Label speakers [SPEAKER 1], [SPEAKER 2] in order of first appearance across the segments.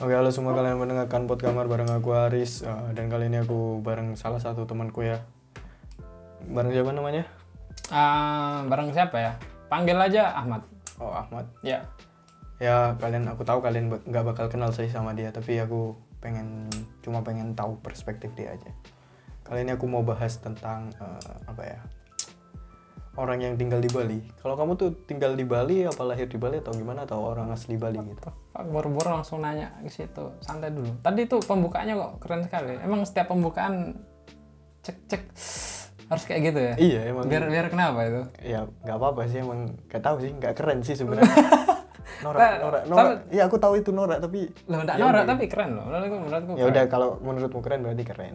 [SPEAKER 1] Oke, halo semua kalian mendengarkan pot kamar bareng aku Aris Eh, dan kali ini aku bareng salah satu temanku ya. Bareng siapa namanya?
[SPEAKER 2] Ah, bareng siapa ya? Panggil aja Ahmad.
[SPEAKER 1] Oh, Ahmad.
[SPEAKER 2] Ya.
[SPEAKER 1] Ya, kalian aku tahu kalian bak- nggak bakal kenal sih sama dia, tapi aku pengen cuma pengen tahu perspektif dia aja. Kali ini aku mau bahas tentang eh, apa ya? Orang yang tinggal di Bali. Kalau kamu tuh tinggal di Bali apa lahir di Bali atau gimana atau orang asli Bali gitu?
[SPEAKER 2] Pak boro-boro langsung nanya ke situ. Santai dulu. Tadi tuh pembukaannya kok keren sekali. Emang setiap pembukaan cek-cek harus kayak gitu ya?
[SPEAKER 1] Iya, emang
[SPEAKER 2] Biar biar kenapa itu?
[SPEAKER 1] ya nggak apa-apa sih emang nggak tahu sih nggak keren sih sebenarnya norak
[SPEAKER 2] Nah,
[SPEAKER 1] norak norak ya aku tahu itu norak tapi
[SPEAKER 2] Loh, enggak norak tapi keren loh. Menurutku menurutku
[SPEAKER 1] ya udah kalau menurutmu keren berarti keren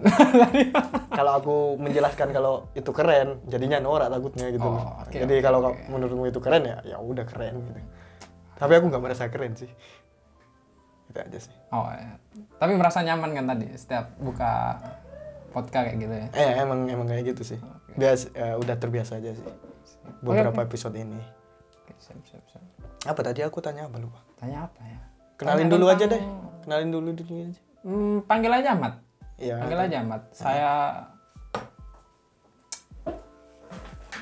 [SPEAKER 1] kalau aku menjelaskan kalau itu keren jadinya norak takutnya gitu
[SPEAKER 2] Oh,
[SPEAKER 1] loh.
[SPEAKER 2] oke,
[SPEAKER 1] jadi kalau ka- menurutmu itu keren ya ya udah keren gitu tapi aku nggak merasa keren sih itu aja sih
[SPEAKER 2] Oh, ya. Tapi merasa nyaman kan tadi setiap buka podcast kayak gitu ya.
[SPEAKER 1] eh emang emang kayak gitu sih bias eh, udah terbiasa aja sih beberapa episode ini
[SPEAKER 2] Oke, siap, siap, siap.
[SPEAKER 1] apa tadi aku tanya apa lupa
[SPEAKER 2] Tanya apa ya?
[SPEAKER 1] kenalin dulu aja deh kenalin dulu dulu aja
[SPEAKER 2] Hmm, panggil aja Ahmad.
[SPEAKER 1] ya
[SPEAKER 2] Panggil aja Mat. Saya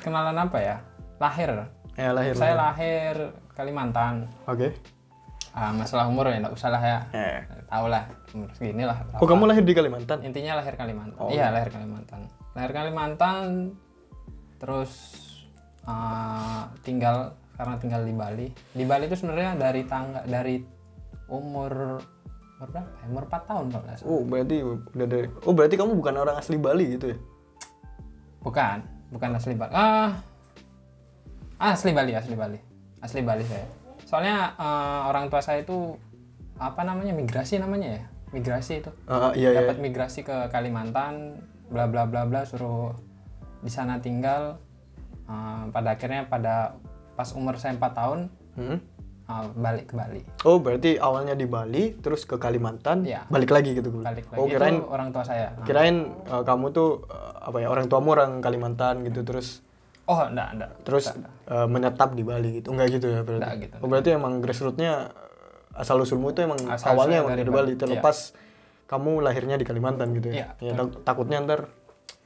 [SPEAKER 2] kenalan apa ya? Lahir.
[SPEAKER 1] Ya lahir.
[SPEAKER 2] Saya lahir Kalimantan.
[SPEAKER 1] Oke.
[SPEAKER 2] Ah, masalah umur ya nggak usah lah ya.
[SPEAKER 1] Eh.
[SPEAKER 2] Tahu lah umur segini lah.
[SPEAKER 1] Oh kamu lahir di Kalimantan?
[SPEAKER 2] Intinya lahir Kalimantan. Iya lahir Kalimantan. Lahir Kalimantan. Terus ah, tinggal karena tinggal di Bali. Di Bali itu sebenarnya dari tangga dari umur umur berapa? ya? Umur 4 tahun kalau nggak salah.
[SPEAKER 1] Oh berarti udah dari. Oh berarti kamu bukan orang asli Bali gitu ya?
[SPEAKER 2] Bukan, bukan asli Bali. Ah, asli Bali, asli Bali, asli Bali saya. Soalnya eh, orang tua saya itu apa namanya migrasi namanya ya, migrasi itu.
[SPEAKER 1] Ah iya iya.
[SPEAKER 2] Dapat migrasi ke Kalimantan, bla bla bla bla, suruh di sana tinggal. Eh, pada akhirnya pada pas umur saya 4 tahun
[SPEAKER 1] Hmm?
[SPEAKER 2] eh, balik ke Bali,
[SPEAKER 1] Oh berarti awalnya di Bali, terus ke Kalimantan,
[SPEAKER 2] Iya.
[SPEAKER 1] balik lagi gitu gue.
[SPEAKER 2] balik lagi
[SPEAKER 1] Oh kirain
[SPEAKER 2] itu orang tua saya. Nah,
[SPEAKER 1] kirain eh, kamu tuh eh, apa ya orang tuamu orang Kalimantan gitu terus
[SPEAKER 2] Oh, enggak, enggak.
[SPEAKER 1] terus eh, menetap di Bali gitu enggak gitu ya berarti?
[SPEAKER 2] Enggak gitu.
[SPEAKER 1] Oh berarti emang grassrootsnya asal usulmu itu emang
[SPEAKER 2] Asal-usulnya
[SPEAKER 1] awalnya emang
[SPEAKER 2] dari iya.
[SPEAKER 1] dari Bali terlepas kamu lahirnya di Kalimantan gitu ya? Ya, tak- takutnya ntar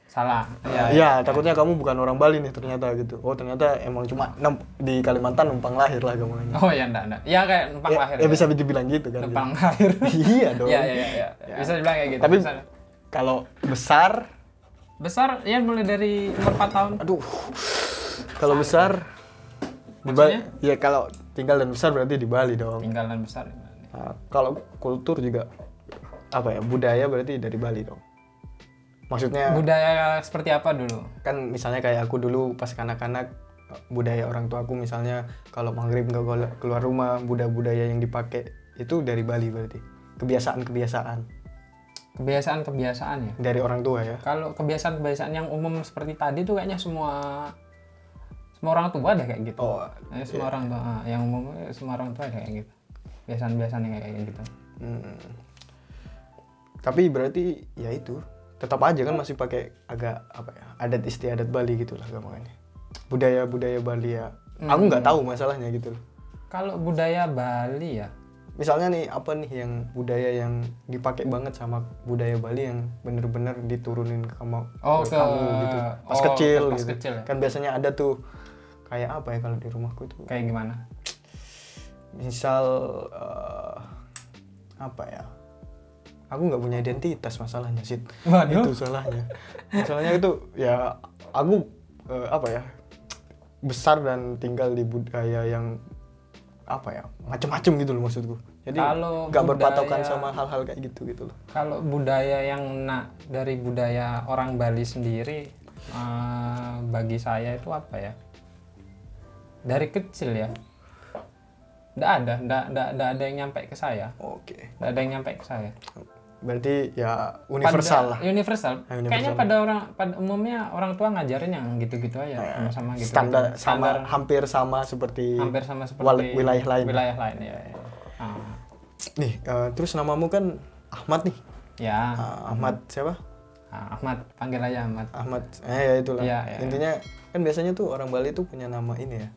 [SPEAKER 2] Salah. Iya,
[SPEAKER 1] Iya, takutnya kamu bukan orang Bali nih ternyata gitu. Oh, ternyata emang cuma nem- di Kalimantan numpang lahir lah kamu ini.
[SPEAKER 2] Oh, ya enggak, enggak. Ya kayak numpang
[SPEAKER 1] Ya,
[SPEAKER 2] lahir.
[SPEAKER 1] ya bisa dibilang gitu kan.
[SPEAKER 2] numpang lahir.
[SPEAKER 1] iya dong.
[SPEAKER 2] Iya, iya, iya. Ya. Bisa dibilang kayak gitu.
[SPEAKER 1] Tapi
[SPEAKER 2] Bisa.
[SPEAKER 1] kalau besar,
[SPEAKER 2] Besar, ya mulai dari umur 4 tahun.
[SPEAKER 1] aduh. Kalau besar di Bali, ya kalau tinggal dan besar berarti di Bali dong.
[SPEAKER 2] Tinggalan besar.
[SPEAKER 1] Nah, kalau kultur juga apa ya? Budaya berarti dari Bali dong. Maksudnya
[SPEAKER 2] Budaya seperti apa dulu?
[SPEAKER 1] kan misalnya kayak aku dulu pas kanak-kanak budaya orang tuaku misalnya kalau maghrib nggak gol- keluar rumah budaya-budaya yang dipakai itu dari Bali berarti kebiasaan-kebiasaan
[SPEAKER 2] Kebiasaan-kebiasaan ya.
[SPEAKER 1] dari orang tua ya
[SPEAKER 2] Kalau kebiasaan-kebiasaan yang umum seperti tadi tuh kayaknya semua semua orang tua ada kayak gitu.
[SPEAKER 1] oh
[SPEAKER 2] Ya, semua orang tua ah, yang umum eh, semua orang tua ada kayak gitu. Kebiasaan-kebiasaan yang kayak gitu.
[SPEAKER 1] hmm. tapi berarti ya itu tetap aja kan masih pakai agak apa ya adat istiadat Bali gitulah gampangnya budaya-budaya Bali ya aku nggak tahu masalahnya gitu loh
[SPEAKER 2] Kalau budaya Bali ya,
[SPEAKER 1] misalnya nih apa nih yang budaya yang dipakai banget sama budaya Bali yang bener-bener diturunin ke kamu
[SPEAKER 2] Oh,
[SPEAKER 1] ke
[SPEAKER 2] ke-
[SPEAKER 1] kamu gitu pas
[SPEAKER 2] oh,
[SPEAKER 1] kecil
[SPEAKER 2] ke pas
[SPEAKER 1] gitu
[SPEAKER 2] kecil ya.
[SPEAKER 1] kan biasanya ada tuh kayak apa ya kalau di rumahku tuh
[SPEAKER 2] kayak gimana?
[SPEAKER 1] misal eh, apa ya aku nggak punya identitas masalahnya sih
[SPEAKER 2] Waduh.
[SPEAKER 1] itu salahnya masalahnya itu ya aku eh, apa ya besar dan tinggal di budaya yang apa ya macem-macem gitu loh maksudku jadi
[SPEAKER 2] Kalau
[SPEAKER 1] nggak berpatokan
[SPEAKER 2] budaya-
[SPEAKER 1] sama hal-hal kayak gitu gitu loh
[SPEAKER 2] Kalau budaya yang nak dari budaya orang Bali sendiri, eh, bagi saya itu apa ya? Dari kecil ya, ndak ada, ndak ndak ndak ada yang nyampe ke saya,
[SPEAKER 1] oke
[SPEAKER 2] ndak ada yang nyampe ke saya.
[SPEAKER 1] berarti ya
[SPEAKER 2] Pada-
[SPEAKER 1] universal lah
[SPEAKER 2] Universal.
[SPEAKER 1] Ah, universal.
[SPEAKER 2] Kayaknya pada orang pada umumnya orang tua ngajarin yang gitu-gitu aja, sama-sama
[SPEAKER 1] Ya,
[SPEAKER 2] gitu.
[SPEAKER 1] standar sama hampir sama seperti
[SPEAKER 2] hampir sama
[SPEAKER 1] wal-
[SPEAKER 2] seperti
[SPEAKER 1] wilayah lain
[SPEAKER 2] Wilayah lain ya. ya. Ah,
[SPEAKER 1] nih eh, terus namamu kan Ahmad nih
[SPEAKER 2] ya,
[SPEAKER 1] Ah, Ahmad siapa
[SPEAKER 2] Ah, Ahmad panggil aja Ahmad.
[SPEAKER 1] Ahmad eh ya itulah
[SPEAKER 2] Iya, iya.
[SPEAKER 1] intinya kan biasanya tuh orang Bali tuh punya nama ini ya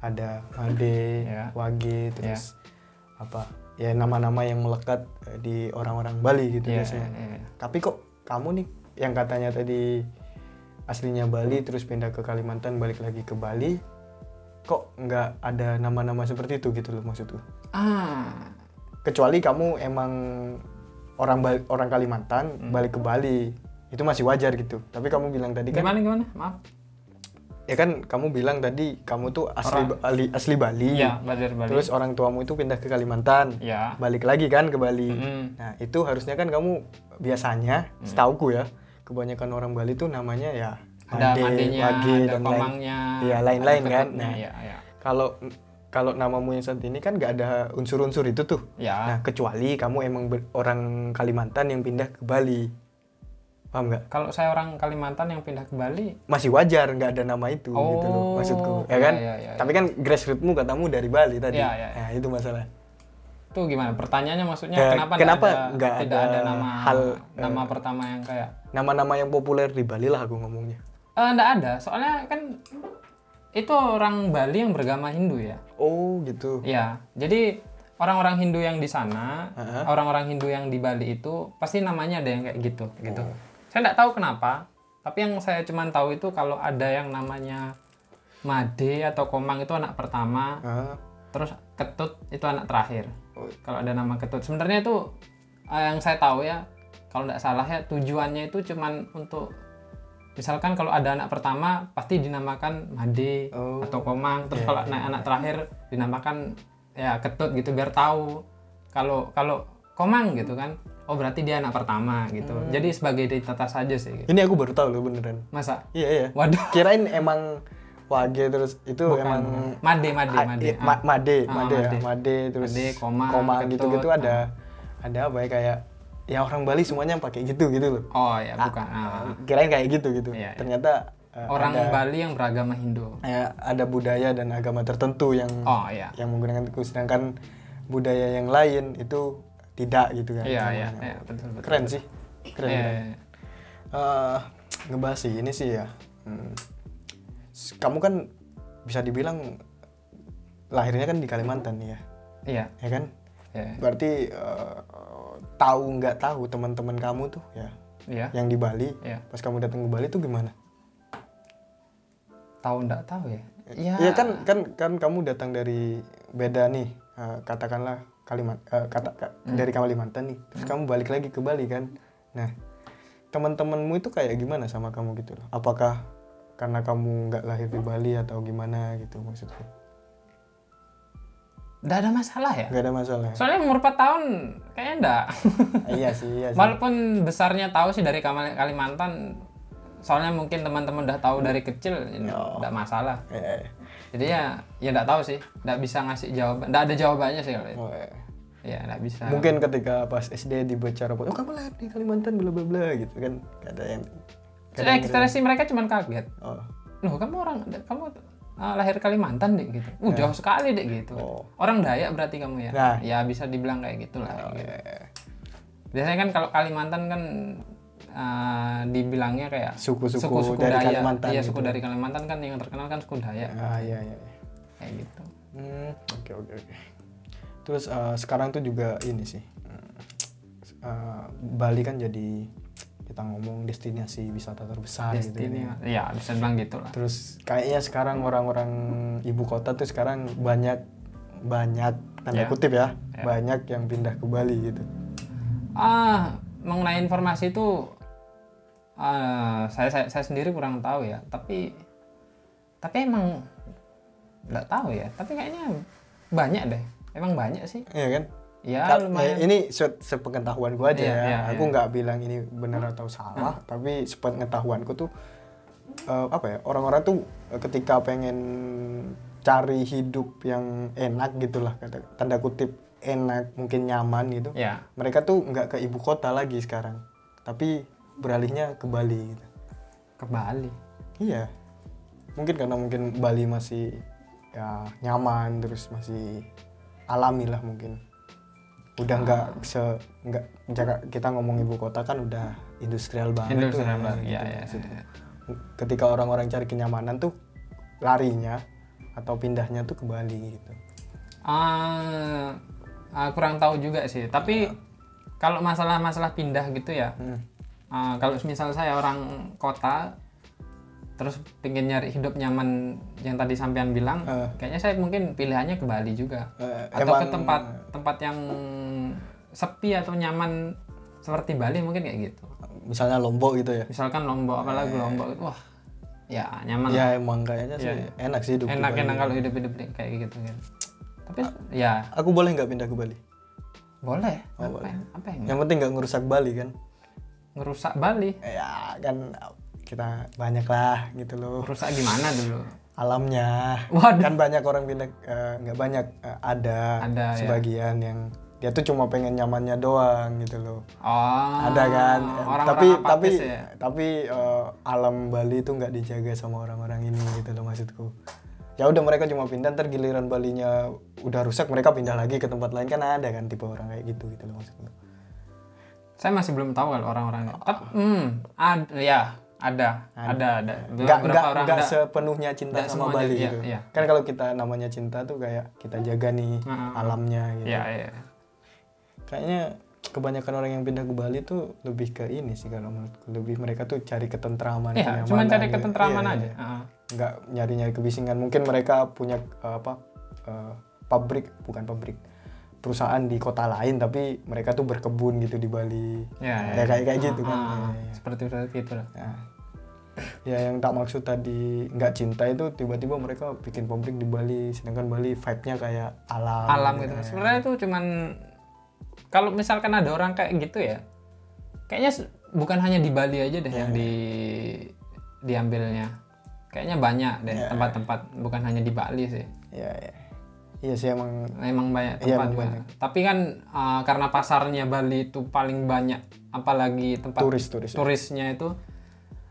[SPEAKER 1] ada Ade
[SPEAKER 2] Iya.
[SPEAKER 1] Wage terus apa ya nama-nama yang melekat eh, di orang-orang Bali gitu
[SPEAKER 2] Iya,
[SPEAKER 1] biasanya.
[SPEAKER 2] iya, iya.
[SPEAKER 1] Tapi kok kamu nih yang katanya tadi aslinya Bali terus pindah ke Kalimantan balik lagi ke Bali kok nggak ada nama-nama seperti itu gitu loh maksudku.
[SPEAKER 2] Ah,
[SPEAKER 1] Kecuali kamu emang orang Bal- orang Kalimantan
[SPEAKER 2] Hmm.
[SPEAKER 1] balik ke Bali itu masih wajar gitu. Tapi kamu bilang tadi kan
[SPEAKER 2] gimana gimana? Maaf.
[SPEAKER 1] ya kan kamu bilang tadi kamu tuh asli
[SPEAKER 2] Orang-
[SPEAKER 1] Bali, asli Bali.
[SPEAKER 2] Iya, Badar Bali.
[SPEAKER 1] Terus orang tuamu itu pindah ke Kalimantan.
[SPEAKER 2] ya.
[SPEAKER 1] balik lagi kan ke Bali.
[SPEAKER 2] Mm-mm. Mm.
[SPEAKER 1] Nah itu harusnya kan kamu biasanya, setauku ya, kebanyakan orang Bali tuh namanya ya
[SPEAKER 2] Ada
[SPEAKER 1] Made,
[SPEAKER 2] mandenya,
[SPEAKER 1] Wage,
[SPEAKER 2] ada
[SPEAKER 1] dan lain.
[SPEAKER 2] komangnya.
[SPEAKER 1] Iya, lain-lain
[SPEAKER 2] ada
[SPEAKER 1] kan.
[SPEAKER 2] keretnya,
[SPEAKER 1] Nah.
[SPEAKER 2] Iya, iya.
[SPEAKER 1] Kalau kalau namamu yang saat ini kan nggak ada unsur-unsur itu tuh.
[SPEAKER 2] Ya,
[SPEAKER 1] Nah kecuali kamu emang ber- orang Kalimantan yang pindah ke Bali, paham nggak?
[SPEAKER 2] kalau saya orang Kalimantan yang pindah ke Bali,
[SPEAKER 1] Masih wajar nggak ada nama itu gitu loh
[SPEAKER 2] Oh,
[SPEAKER 1] maksudku, ya
[SPEAKER 2] iya,
[SPEAKER 1] kan?
[SPEAKER 2] iya, iya,
[SPEAKER 1] Tapi kan grassrootsmu katamu dari Bali tadi.
[SPEAKER 2] Iya, iya, iya.
[SPEAKER 1] Nah itu masalah.
[SPEAKER 2] tuh gimana? Pertanyaannya maksudnya
[SPEAKER 1] Ya,
[SPEAKER 2] kenapa,
[SPEAKER 1] kenapa nggak
[SPEAKER 2] nggak ada, tidak
[SPEAKER 1] ada
[SPEAKER 2] ada nama
[SPEAKER 1] hal, eh,
[SPEAKER 2] nama pertama yang kayak
[SPEAKER 1] Nama-nama yang populer di Bali lah aku ngomongnya.
[SPEAKER 2] Eh, nggak ada, soalnya kan itu orang Bali yang beragama Hindu ya.
[SPEAKER 1] Oh gitu.
[SPEAKER 2] Iya, jadi orang-orang Hindu yang di sana, orang-orang Hindu yang di Bali itu pasti namanya ada yang kayak gitu, gitu. Saya nggak tahu kenapa, tapi yang saya cuman tahu itu kalau ada yang namanya Made atau Komang itu anak pertama,
[SPEAKER 1] Ah,
[SPEAKER 2] terus Ketut itu anak terakhir.
[SPEAKER 1] Oh.
[SPEAKER 2] Kalau ada nama Ketut, sebenarnya itu eh, yang saya tahu ya, kalau nggak salah ya tujuannya itu cuman untuk misalkan kalau ada anak pertama pasti dinamakan Made
[SPEAKER 1] Oh.
[SPEAKER 2] atau komang terus kalau anak anak terakhir dinamakan ya ketut gitu biar tahu kalau kalau komang gitu kan oh berarti dia anak pertama gitu
[SPEAKER 1] Hmm.
[SPEAKER 2] jadi sebagai identitas aja sih gitu.
[SPEAKER 1] Ini aku baru tahu loh beneran.
[SPEAKER 2] masa
[SPEAKER 1] Iya iya.
[SPEAKER 2] waduh
[SPEAKER 1] Kirain emang wage terus itu emang
[SPEAKER 2] made made
[SPEAKER 1] a-
[SPEAKER 2] made
[SPEAKER 1] i-
[SPEAKER 2] ah.
[SPEAKER 1] iya, ma- made,
[SPEAKER 2] Ah,
[SPEAKER 1] made, ya,
[SPEAKER 2] made.
[SPEAKER 1] made terus
[SPEAKER 2] Made, koma, ah. ketut,
[SPEAKER 1] gitu-gitu ada ada apa ya kayak ya orang Bali semuanya pakai gitu gitu loh.
[SPEAKER 2] oh ya bukan ah.
[SPEAKER 1] Kirain kayak gitu gitu.
[SPEAKER 2] Iya, iya.
[SPEAKER 1] Ternyata eh,
[SPEAKER 2] orang
[SPEAKER 1] ada
[SPEAKER 2] Bali yang beragama Hindu
[SPEAKER 1] eh, ada budaya dan agama tertentu yang
[SPEAKER 2] oh ya
[SPEAKER 1] yang menggunakan itu sedangkan budaya yang lain itu tidak gitu kan.
[SPEAKER 2] iya iya
[SPEAKER 1] namanya.
[SPEAKER 2] iya, betul betul
[SPEAKER 1] Keren sih. Keren.
[SPEAKER 2] Iya,
[SPEAKER 1] keren.
[SPEAKER 2] iya, iya.
[SPEAKER 1] eh ngebahas sih ini sih ya. Hmm. S- Kamu kan bisa dibilang lahirnya kan di Kalimantan ya,
[SPEAKER 2] iya
[SPEAKER 1] ya kan?
[SPEAKER 2] iya
[SPEAKER 1] Berarti eh, tahu nggak tahu teman-teman kamu tuh ya,
[SPEAKER 2] iya
[SPEAKER 1] yang di Bali.
[SPEAKER 2] iya
[SPEAKER 1] Pas kamu datang ke Bali tuh gimana?
[SPEAKER 2] tahu nggak tahu ya iya
[SPEAKER 1] Iya kan kan kan kamu datang dari beda nih eh, katakanlah Kalimantan kata ka- dari Kalimantan nih. Terus kamu balik lagi ke Bali kan. Nah, teman-temanmu itu kayak gimana sama kamu gitu loh? Apakah karena kamu nggak lahir di Bali atau gimana gitu maksudku?
[SPEAKER 2] nggak ada masalah ya
[SPEAKER 1] Gak ada masalah. ya?
[SPEAKER 2] Soalnya umur 4 tahun kayaknya enggak.
[SPEAKER 1] iya sih, iya sih.
[SPEAKER 2] Walaupun besarnya tahu sih dari Kamal- Kalimantan. Soalnya mungkin teman-teman udah tahu dari kecil enggak masalah.
[SPEAKER 1] Iya, iya.
[SPEAKER 2] Jadi ya ya enggak tahu sih, enggak bisa ngasih jawaban. Enggak ada jawabannya sih kalau itu.
[SPEAKER 1] Oh, iya.
[SPEAKER 2] Ya enggak bisa.
[SPEAKER 1] Mungkin ketika pas SD dibaca rapor, oh kamu lahir di Kalimantan bla bla bla gitu kan. Gak ada yang
[SPEAKER 2] So, Ekspresi mereka cuman kaget.
[SPEAKER 1] oh,
[SPEAKER 2] Loh, kamu orang kamu ah, lahir Kalimantan deh gitu. Uh, jauh sekali deh gitu.
[SPEAKER 1] Ya. Oh.
[SPEAKER 2] Orang Dayak berarti kamu ya.
[SPEAKER 1] Nah.
[SPEAKER 2] Ya bisa dibilang kayak gitulah. kayak gitu.
[SPEAKER 1] iya, iya.
[SPEAKER 2] Biasanya kan kalau Kalimantan kan ah, dibilangnya kayak
[SPEAKER 1] Suku-suku
[SPEAKER 2] suku-suku
[SPEAKER 1] dari
[SPEAKER 2] Dayak.
[SPEAKER 1] Kalimantan
[SPEAKER 2] Iya,
[SPEAKER 1] gitu.
[SPEAKER 2] suku dari Kalimantan kan yang terkenal kan suku Dayak
[SPEAKER 1] Ah, iya, iya. iya.
[SPEAKER 2] kayak gitu.
[SPEAKER 1] Hmm, oke oke oke. Terus eh, sekarang tuh juga ini sih. hmm, eh, Bali kan jadi kita ngomong destinasi wisata terbesar
[SPEAKER 2] Destiny.
[SPEAKER 1] gitu ya.
[SPEAKER 2] Iya, bisa bilang gitu lah.
[SPEAKER 1] Terus kayaknya sekarang orang-orang ibu kota tuh sekarang banyak banyak tanda
[SPEAKER 2] Ya.
[SPEAKER 1] kutip ya, banyak yang pindah ke Bali gitu.
[SPEAKER 2] Ah, mengenai informasi itu ah, saya, saya saya sendiri kurang tahu ya, tapi tapi emang nggak tahu ya, tapi kayaknya banyak deh. Emang banyak sih.
[SPEAKER 1] Iya kan?
[SPEAKER 2] Ya,
[SPEAKER 1] Ka-
[SPEAKER 2] lumayan.
[SPEAKER 1] eh, ini se- sepengetahuan gua aja
[SPEAKER 2] Iya,
[SPEAKER 1] ya.
[SPEAKER 2] iya,
[SPEAKER 1] aku
[SPEAKER 2] iya. Hmm.
[SPEAKER 1] nggak bilang ini benar atau salah, tapi sepengetahuanku tuh eh, apa ya orang-orang tuh eh, ketika pengen cari hidup yang enak gitulah kata tanda kutip enak mungkin nyaman gitu.
[SPEAKER 2] Ya.
[SPEAKER 1] Mereka tuh nggak ke ibu kota lagi sekarang, tapi beralihnya ke Bali. Gitu.
[SPEAKER 2] Ke Bali.
[SPEAKER 1] Iya, mungkin karena mungkin Bali masih ya nyaman terus masih alami lah mungkin. Udah nggak se nggak jaka- kita ngomong ibu kota kan udah industrial banget tuh.
[SPEAKER 2] Indonesia Bali.
[SPEAKER 1] gitu
[SPEAKER 2] Ya, ya,
[SPEAKER 1] maksudnya.
[SPEAKER 2] ya.
[SPEAKER 1] Ketika orang-orang cari kenyamanan tuh larinya atau pindahnya tuh ke Bali gitu.
[SPEAKER 2] Ah, Ah, kurang tahu juga sih. Tapi kalau masalah-masalah pindah gitu
[SPEAKER 1] Ah.
[SPEAKER 2] ya,
[SPEAKER 1] Hmm.
[SPEAKER 2] ah, kalau misal saya orang kota, terus pengen nyari hidup nyaman yang tadi sampean bilang,
[SPEAKER 1] Eh.
[SPEAKER 2] kayaknya saya mungkin pilihannya ke Bali juga,
[SPEAKER 1] Eh,
[SPEAKER 2] atau ke
[SPEAKER 1] emang-
[SPEAKER 2] tempat tempat yang sepi atau nyaman seperti Bali mungkin kayak gitu.
[SPEAKER 1] misalnya Lombok gitu ya
[SPEAKER 2] Misalkan Lombok, apalagi
[SPEAKER 1] Eh.
[SPEAKER 2] Lombok, wah, ya nyaman.
[SPEAKER 1] ya emang kayaknya sih enak ya? sih hidup di Bali. Ah.
[SPEAKER 2] Enak-enak kalau hidup-hidup kayak gitu kan. Tapi ya
[SPEAKER 1] aku boleh nggak pindah ke Bali
[SPEAKER 2] boleh.
[SPEAKER 1] Oh,
[SPEAKER 2] apa, yang, apa yang
[SPEAKER 1] yang penting nggak ngerusak Bali kan
[SPEAKER 2] ngerusak Bali?
[SPEAKER 1] ya kan kita banyak lah gitu loh
[SPEAKER 2] Rusak gimana dulu?
[SPEAKER 1] alamnya
[SPEAKER 2] Waduh.
[SPEAKER 1] kan banyak orang pindah eh, nggak banyak eh, ada,
[SPEAKER 2] Ada, ya.
[SPEAKER 1] sebagian yang dia tuh cuma pengen nyamannya doang gitu loh
[SPEAKER 2] Oh.
[SPEAKER 1] ada kan Eh,
[SPEAKER 2] Orang-orang
[SPEAKER 1] tapi tapi
[SPEAKER 2] apatis ya.
[SPEAKER 1] tapi eh, alam Bali itu nggak dijaga sama orang-orang ini gitu loh maksudku ya udah mereka cuma pindah ntar giliran Balinya udah rusak mereka pindah lagi ke tempat lain kan ada kan tipe orang kayak gitu gitu loh maksudku
[SPEAKER 2] Saya masih belum tahu kalau orang-orangnya. Tapi
[SPEAKER 1] Oh.
[SPEAKER 2] hmm, ada ya, ada. Ada ada.
[SPEAKER 1] nggak
[SPEAKER 2] Beberapa
[SPEAKER 1] nggak
[SPEAKER 2] orang
[SPEAKER 1] nggak
[SPEAKER 2] ada.
[SPEAKER 1] sepenuhnya cinta
[SPEAKER 2] nggak
[SPEAKER 1] sama
[SPEAKER 2] semuanya,
[SPEAKER 1] Bali
[SPEAKER 2] iya,
[SPEAKER 1] gitu
[SPEAKER 2] iya.
[SPEAKER 1] kan kalau kita namanya cinta tuh kayak kita jaga nih alamnya gitu
[SPEAKER 2] Ya, ya.
[SPEAKER 1] kayaknya kebanyakan orang yang pindah ke Bali tuh lebih ke ini sih kalau menurutku lebih mereka tuh cari ketentraman
[SPEAKER 2] Iya,
[SPEAKER 1] kenyamanan
[SPEAKER 2] cuman cari
[SPEAKER 1] gitu.
[SPEAKER 2] ketentraman
[SPEAKER 1] Iya,
[SPEAKER 2] aja. Ah.
[SPEAKER 1] iya.
[SPEAKER 2] Heeh.
[SPEAKER 1] nggak nyari nyari kebisingan mungkin mereka punya eh, apa eh, pabrik bukan pabrik perusahaan di kota lain tapi mereka tuh berkebun gitu di Bali
[SPEAKER 2] Ya,
[SPEAKER 1] ya, kayak kayak gitu kan
[SPEAKER 2] Ah,
[SPEAKER 1] Ya, ya, ya.
[SPEAKER 2] seperti seperti itu lah.
[SPEAKER 1] Nah, ya yang tak maksud tadi nggak cinta itu tiba-tiba mereka bikin pabrik di Bali sedangkan Bali vibe-nya kayak alam
[SPEAKER 2] alam gitu. Sebenarnya itu cuman kalau misalkan ada orang kayak gitu ya, kayaknya se- bukan hanya di Bali aja deh
[SPEAKER 1] Iya,
[SPEAKER 2] yang di diambilnya. Kayaknya banyak deh
[SPEAKER 1] Iya,
[SPEAKER 2] tempat-tempat, bukan hanya di Bali sih.
[SPEAKER 1] ya ya iya sih emang
[SPEAKER 2] Memang
[SPEAKER 1] Iya,
[SPEAKER 2] banyak tempat
[SPEAKER 1] emang
[SPEAKER 2] juga.
[SPEAKER 1] banyak.
[SPEAKER 2] Tapi kan uh, karena pasarnya Bali itu paling banyak, apalagi tempat
[SPEAKER 1] turis turis
[SPEAKER 2] turisnya itu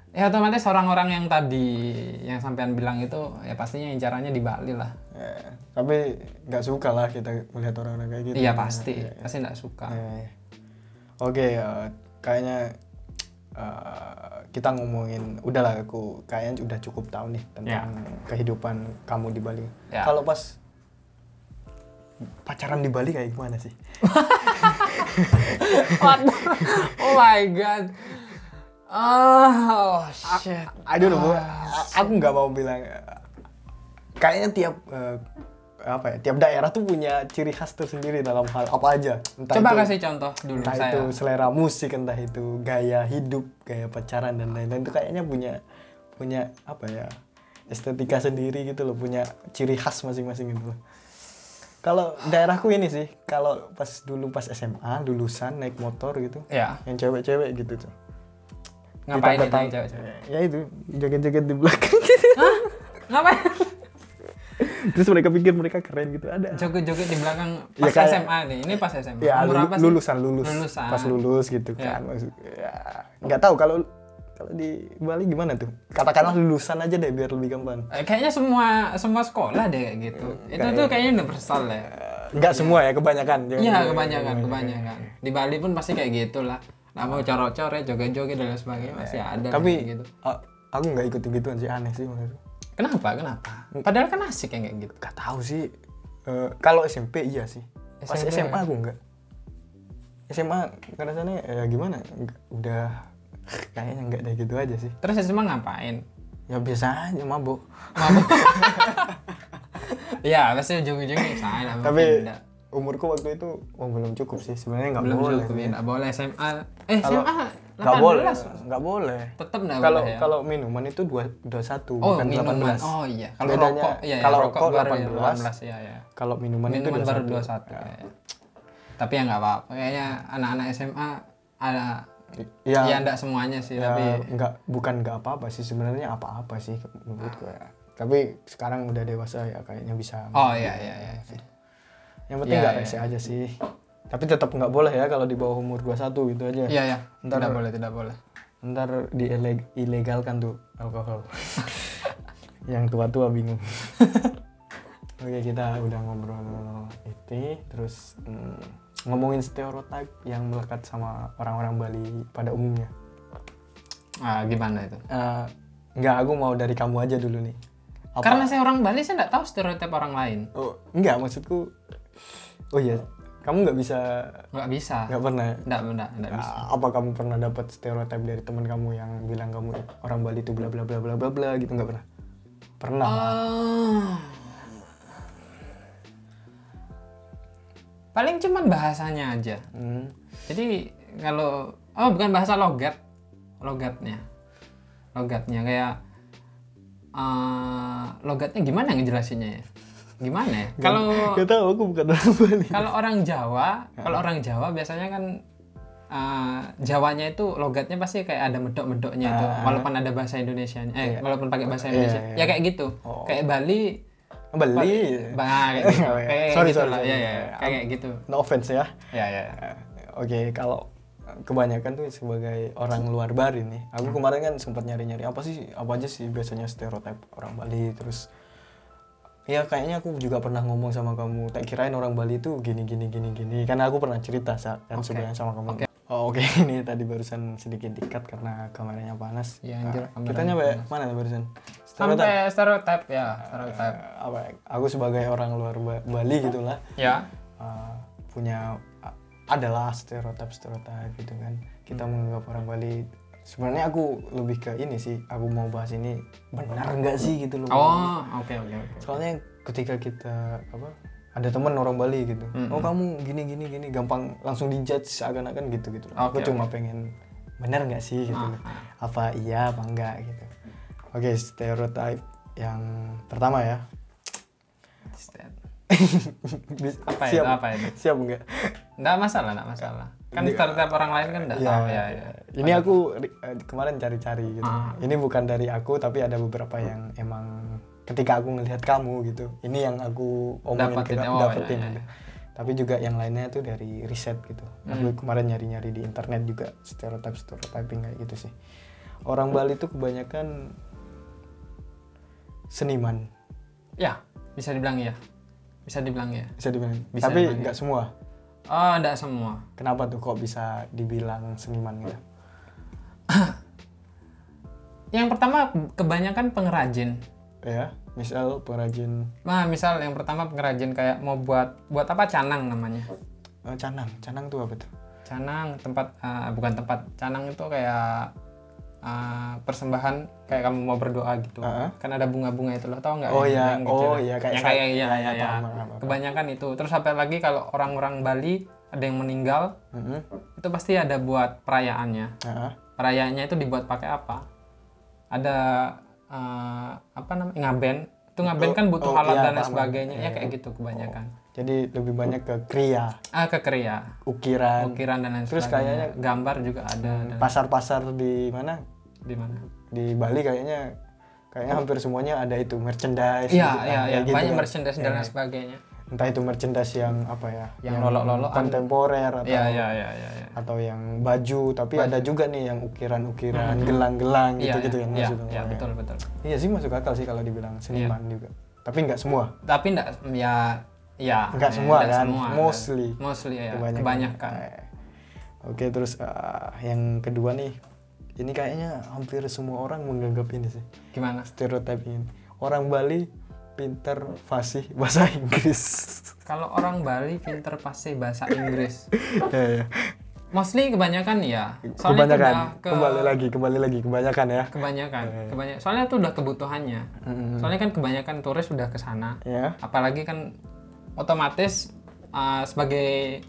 [SPEAKER 2] ya otomatis orang-orang yang tadi yang sampean bilang itu ya pastinya incarannya di Bali lah.
[SPEAKER 1] Ya, tapi nggak suka lah kita melihat orang-orang kayak gitu
[SPEAKER 2] Iya pasti, pasti nggak suka.
[SPEAKER 1] Ya, ya. oke eh, kayaknya eh, kita ngomongin udahlah aku kayaknya udah cukup tahu nih tentang kehidupan kamu di Bali
[SPEAKER 2] Ya.
[SPEAKER 1] kalau pas pacaran di Bali kayak gimana sih
[SPEAKER 2] What? oh my god. Oh, shit.
[SPEAKER 1] I don't know, gua-
[SPEAKER 2] Ah,
[SPEAKER 1] a- aku nggak mau bilang. eh, Kayaknya tiap eh, apa ya, tiap daerah tuh punya ciri khas tersendiri dalam hal apa aja. Entah itu,
[SPEAKER 2] Coba kasih contoh dulu
[SPEAKER 1] entah
[SPEAKER 2] saya.
[SPEAKER 1] itu selera musik, entah itu gaya hidup, gaya pacaran dan lain-lain itu kayaknya punya punya apa ya estetika sendiri gitu loh, punya ciri khas masing-masing gitu loh. Kalau daerahku ini sih, kalau pas dulu pas SMA lulusan naik motor gitu,
[SPEAKER 2] Ya,
[SPEAKER 1] yang cewek-cewek gitu tuh.
[SPEAKER 2] ngapain itu
[SPEAKER 1] Ditata-
[SPEAKER 2] yang cewek-cewek?
[SPEAKER 1] Ya itu, joget-joget di belakang.
[SPEAKER 2] Ngapain?
[SPEAKER 1] Terus mereka pikir mereka keren gitu. Ada.
[SPEAKER 2] Joget-joget di belakang
[SPEAKER 1] Ya,
[SPEAKER 2] pas
[SPEAKER 1] kayak-
[SPEAKER 2] SMA nih. Ini pas SMA.
[SPEAKER 1] Ya
[SPEAKER 2] Umur
[SPEAKER 1] lulu-
[SPEAKER 2] apa sih?
[SPEAKER 1] lulusan, lulus.
[SPEAKER 2] Lulusan.
[SPEAKER 1] Pas lulus gitu
[SPEAKER 2] Ya.
[SPEAKER 1] kan. Maksud, ya nggak tahu kalau kalau di Bali gimana tuh? Katakanlah lulusan aja deh biar lebih gampang.
[SPEAKER 2] Eh, kayaknya semua semua sekolah deh kayak gitu. itu tuh kayaknya universal ya.
[SPEAKER 1] Enggak semua ya, kebanyakan. Jangan-
[SPEAKER 2] Iya, kebanyakan, kebanyakan. Di Bali pun pasti kayak gitulah. Nah, mau coret-coret, joget-joget dan lain sebagainya masih ada deh
[SPEAKER 1] Ya. Tapi
[SPEAKER 2] kayak gitu.
[SPEAKER 1] a- aku nggak ikut gituan sih aneh sih menurutku.
[SPEAKER 2] Kenapa? Kenapa? Padahal kan asik yang kayak gitu.
[SPEAKER 1] Nggak tahu sih. Eh, kalau SMP iya sih. Pas
[SPEAKER 2] SMP.
[SPEAKER 1] SMA aku enggak. SMA rasanya ya gimana? Nggak- Udah kayaknya enggak deh gitu aja sih.
[SPEAKER 2] Terus SMA ngapain?
[SPEAKER 1] Ya biasa aja mabuk.
[SPEAKER 2] Mabuk. ya pasti ujung-ujungnya salah.
[SPEAKER 1] Tapi
[SPEAKER 2] pindah.
[SPEAKER 1] umurku waktu itu oh, belum cukup sih sebenarnya nggak
[SPEAKER 2] belum
[SPEAKER 1] boleh.
[SPEAKER 2] cukup ya, nggak boleh SMA. Eh
[SPEAKER 1] Kalau-
[SPEAKER 2] SMA
[SPEAKER 1] Nggak boleh,
[SPEAKER 2] 18
[SPEAKER 1] nggak boleh.
[SPEAKER 2] tetap nggak
[SPEAKER 1] Kalau
[SPEAKER 2] boleh ya.
[SPEAKER 1] kalau minuman itu dua dua satu
[SPEAKER 2] oh
[SPEAKER 1] bukan
[SPEAKER 2] minuman.
[SPEAKER 1] 18.
[SPEAKER 2] Oh iya. Kalau
[SPEAKER 1] Bedanya,
[SPEAKER 2] rokok ya, ya
[SPEAKER 1] kalau
[SPEAKER 2] rokok
[SPEAKER 1] rokok
[SPEAKER 2] baru
[SPEAKER 1] 18.
[SPEAKER 2] 18 ya ya.
[SPEAKER 1] Kalau minuman, itu
[SPEAKER 2] Minuman
[SPEAKER 1] dua
[SPEAKER 2] baru
[SPEAKER 1] satu.
[SPEAKER 2] 21 kayaknya. iya, Tapi ya nggak apa-apa. Kayaknya anak-anak SMA ada
[SPEAKER 1] Ya,
[SPEAKER 2] ya enggak semuanya sih
[SPEAKER 1] ya,
[SPEAKER 2] tapi
[SPEAKER 1] nggak bukan nggak apa-apa sih sebenarnya apa-apa sih menurutku ya. Tapi sekarang udah dewasa ya kayaknya bisa.
[SPEAKER 2] Ah. oh iya iya iya.
[SPEAKER 1] Yang penting
[SPEAKER 2] Iya,
[SPEAKER 1] nggak
[SPEAKER 2] iya.
[SPEAKER 1] rese aja sih. Tapi tetap nggak boleh ya kalau di bawah umur 21 gitu aja.
[SPEAKER 2] Iya ya.
[SPEAKER 1] Ntar-
[SPEAKER 2] Tidak boleh, tidak boleh.
[SPEAKER 1] Ntar diilegalkan tuh alkohol. Yang tua-tua bingung. Oke kita udah ngobrol itu, terus mm, ngomongin stereotip yang melekat sama orang-orang Bali pada umumnya.
[SPEAKER 2] Ah, gimana itu?
[SPEAKER 1] Eh, nggak, aku mau dari kamu aja dulu nih. Apa-
[SPEAKER 2] Karena saya orang Bali saya nggak tahu stereotip orang lain.
[SPEAKER 1] Oh, nggak maksudku. Oh iya, Kamu nggak bisa,
[SPEAKER 2] nggak bisa
[SPEAKER 1] nggak pernah. ya?
[SPEAKER 2] nggak nggak nggak bisa
[SPEAKER 1] Ah, Apa kamu pernah dapat stereotip dari teman kamu yang bilang kamu orang Bali itu bla bla bla bla bla bla gitu nggak pernah? Pernah. lah.
[SPEAKER 2] Ah. paling cuman bahasanya aja
[SPEAKER 1] Hmm.
[SPEAKER 2] jadi kalau oh bukan bahasa logat logatnya logatnya kayak eh logatnya gimana ngejelasinnya ya gimana ya kalau
[SPEAKER 1] Gak tahu aku bukan orang Bali.
[SPEAKER 2] kalau orang Jawa, kalau orang Jawa biasanya kan uh, Jawanya itu logatnya pasti kayak ada medok-medoknya itu, walaupun ada bahasa Indonesia, eh walaupun pakai bahasa Indonesia,
[SPEAKER 1] Ah. iya,
[SPEAKER 2] ya kayak gitu, kayak Bali,
[SPEAKER 1] Bali.
[SPEAKER 2] bah, kayak gitu,
[SPEAKER 1] Oh, iya.
[SPEAKER 2] kayak
[SPEAKER 1] Sorry,
[SPEAKER 2] gitu
[SPEAKER 1] sorry,
[SPEAKER 2] lah,
[SPEAKER 1] sorry.
[SPEAKER 2] ya ya, kayak gitu,
[SPEAKER 1] No offense ya.
[SPEAKER 2] ya ya. ya.
[SPEAKER 1] Eh, Oke, kalau kebanyakan tuh sebagai orang luar Bali nih.
[SPEAKER 2] Hmm.
[SPEAKER 1] Aku kemarin kan sempat nyari-nyari apa sih apa aja sih biasanya stereotip orang Bali terus ya kayaknya aku juga pernah ngomong sama kamu. Tak kirain orang Bali itu gini gini gini gini. Karena aku pernah cerita Sa, kan
[SPEAKER 2] Oke.
[SPEAKER 1] sebenarnya sama kamu.
[SPEAKER 2] Oke.
[SPEAKER 1] Oh, Oke, ini tadi barusan sedikit dikat karena kameranya panas.
[SPEAKER 2] Iya, anjir,
[SPEAKER 1] Ah,
[SPEAKER 2] kameranya
[SPEAKER 1] kita nyampe mana barusan? Stereotip
[SPEAKER 2] Sampai stereotip ya, stereotip.
[SPEAKER 1] eh, apa? ya, Aku sebagai orang luar Ba- Bali gitulah
[SPEAKER 2] Ya,
[SPEAKER 1] uh, punya a- adalah stereotip stereotip gitu kan kita
[SPEAKER 2] Hmm.
[SPEAKER 1] menganggap orang Bali sebenarnya aku lebih ke ini sih aku mau bahas ini benar nggak sih gitu loh
[SPEAKER 2] oh oke oke oke.
[SPEAKER 1] soalnya ketika kita apa ada teman orang Bali gitu
[SPEAKER 2] Hmm,
[SPEAKER 1] oh kamu gini gini gini gampang langsung dijudge seakan-akan gitu gitu loh. aku
[SPEAKER 2] Oke, Ah,
[SPEAKER 1] cuma pengen benar nggak sih gitu loh. apa iya apa enggak gitu oke stereotip yang pertama ya
[SPEAKER 2] Apa ya? itu,
[SPEAKER 1] siap
[SPEAKER 2] apa itu?
[SPEAKER 1] siap enggak
[SPEAKER 2] Nggak masalah, nggak masalah. Kan stereotip orang lain kan nggak
[SPEAKER 1] Iya,
[SPEAKER 2] tahu ya ya.
[SPEAKER 1] Ini aku ri- eh, kemarin cari-cari gitu.
[SPEAKER 2] Ah.
[SPEAKER 1] Ini bukan dari aku tapi ada beberapa
[SPEAKER 2] Hmm.
[SPEAKER 1] yang emang ketika aku ngelihat kamu gitu. Ini yang aku omongin
[SPEAKER 2] Dapatin,
[SPEAKER 1] ke-
[SPEAKER 2] oh,
[SPEAKER 1] dapetin
[SPEAKER 2] iya,
[SPEAKER 1] gitu. Tapi juga yang lainnya tuh dari riset gitu. Aku
[SPEAKER 2] Hmm.
[SPEAKER 1] kemarin nyari-nyari di internet juga stereotip stereotyping kayak gitu sih. Orang Bali tuh kebanyakan seniman
[SPEAKER 2] Ya, bisa dibilang ya. Bisa dibilang ya.
[SPEAKER 1] bisa dibilang.
[SPEAKER 2] Bisa
[SPEAKER 1] tapi
[SPEAKER 2] dibilang, iya.
[SPEAKER 1] nggak semua.
[SPEAKER 2] Oh, enggak semua.
[SPEAKER 1] Kenapa tuh kok bisa dibilang seniman gitu?
[SPEAKER 2] Yang pertama kebanyakan pengrajin.
[SPEAKER 1] Ya, misal pengrajin
[SPEAKER 2] Nah, misal yang pertama pengrajin kayak mau buat buat apa canang namanya.
[SPEAKER 1] eh, canang. Canang tuh apa tuh?
[SPEAKER 2] Canang tempat eh, bukan tempat. Canang itu kayak eh, persembahan kayak kamu mau berdoa gitu.
[SPEAKER 1] Heeh.
[SPEAKER 2] Kan ada bunga-bunga itu loh, tau nggak?
[SPEAKER 1] Oh,
[SPEAKER 2] Yang-
[SPEAKER 1] iya.
[SPEAKER 2] yang kecil.
[SPEAKER 1] Oh, iya, kayak
[SPEAKER 2] Yang
[SPEAKER 1] sa-
[SPEAKER 2] kayak iya,
[SPEAKER 1] iya,
[SPEAKER 2] iya,
[SPEAKER 1] iya,
[SPEAKER 2] iya.
[SPEAKER 1] paham, paham, paham.
[SPEAKER 2] Kebanyakan itu. Terus sampai lagi kalau orang-orang Bali ada yang meninggal,
[SPEAKER 1] Heeh.
[SPEAKER 2] itu pasti ada buat perayaannya.
[SPEAKER 1] Heeh.
[SPEAKER 2] perayaannya itu dibuat pakai apa? Ada eh, apa namanya ngaben? Itu ngaben kan butuh
[SPEAKER 1] oh,
[SPEAKER 2] alat
[SPEAKER 1] iya, Oh.
[SPEAKER 2] dan lain
[SPEAKER 1] paham.
[SPEAKER 2] sebagainya ya kayak gitu kebanyakan.
[SPEAKER 1] Jadi lebih banyak ke kriya,
[SPEAKER 2] Ah kekeria,
[SPEAKER 1] ukiran,
[SPEAKER 2] ukiran dan lain
[SPEAKER 1] Terus Hmm.
[SPEAKER 2] sebagainya. gambar juga ada dan
[SPEAKER 1] pasar-pasar di mana?
[SPEAKER 2] di mana?
[SPEAKER 1] Di Bali kayaknya kayaknya hampir semuanya ada itu merchandise
[SPEAKER 2] Iya
[SPEAKER 1] gitu kan,
[SPEAKER 2] iya iya
[SPEAKER 1] kayak gitu
[SPEAKER 2] banyak
[SPEAKER 1] kan.
[SPEAKER 2] merchandise dan lain sebagainya.
[SPEAKER 1] Entah itu merchandise yang apa ya?
[SPEAKER 2] Yang lolok-lolokan.
[SPEAKER 1] kontemporer atau
[SPEAKER 2] Iya iya iya iya. iya.
[SPEAKER 1] atau yang baju, tapi ada juga nih yang ukiran-ukiran, gelang-gelang
[SPEAKER 2] Iya
[SPEAKER 1] gitu-gitu
[SPEAKER 2] iya,
[SPEAKER 1] yang
[SPEAKER 2] iya,
[SPEAKER 1] masuk.
[SPEAKER 2] iya, betul Iya. betul.
[SPEAKER 1] Iya sih masuk akal sih kalau dibilang seniman juga. Tapi nggak semua.
[SPEAKER 2] Tapi enggak ya ya
[SPEAKER 1] Nggak
[SPEAKER 2] eh,
[SPEAKER 1] semua
[SPEAKER 2] nggak
[SPEAKER 1] kan? Mostly.
[SPEAKER 2] Mostly ya
[SPEAKER 1] Kebanyakan.
[SPEAKER 2] kebanyakan.
[SPEAKER 1] Eh, Oke, terus eh, yang kedua nih. Ini kayaknya hampir semua orang menganggap ini sih.
[SPEAKER 2] Gimana?
[SPEAKER 1] Stereotip ini. Orang Bali pinter fasih bahasa Inggris.
[SPEAKER 2] Kalau orang Bali pinter pasti bahasa Inggris.
[SPEAKER 1] ya, ya.
[SPEAKER 2] Mostly kebanyakan ya. Soalnya itu
[SPEAKER 1] Kebanyakan.
[SPEAKER 2] udah ke
[SPEAKER 1] Kembali lagi, kembali lagi kebanyakan ya.
[SPEAKER 2] kebanyakan. Kebanyak. Soalnya itu udah kebutuhannya. Soalnya kan kebanyakan turis udah ke sana.
[SPEAKER 1] Ya.
[SPEAKER 2] Apalagi kan otomatis uh, sebagai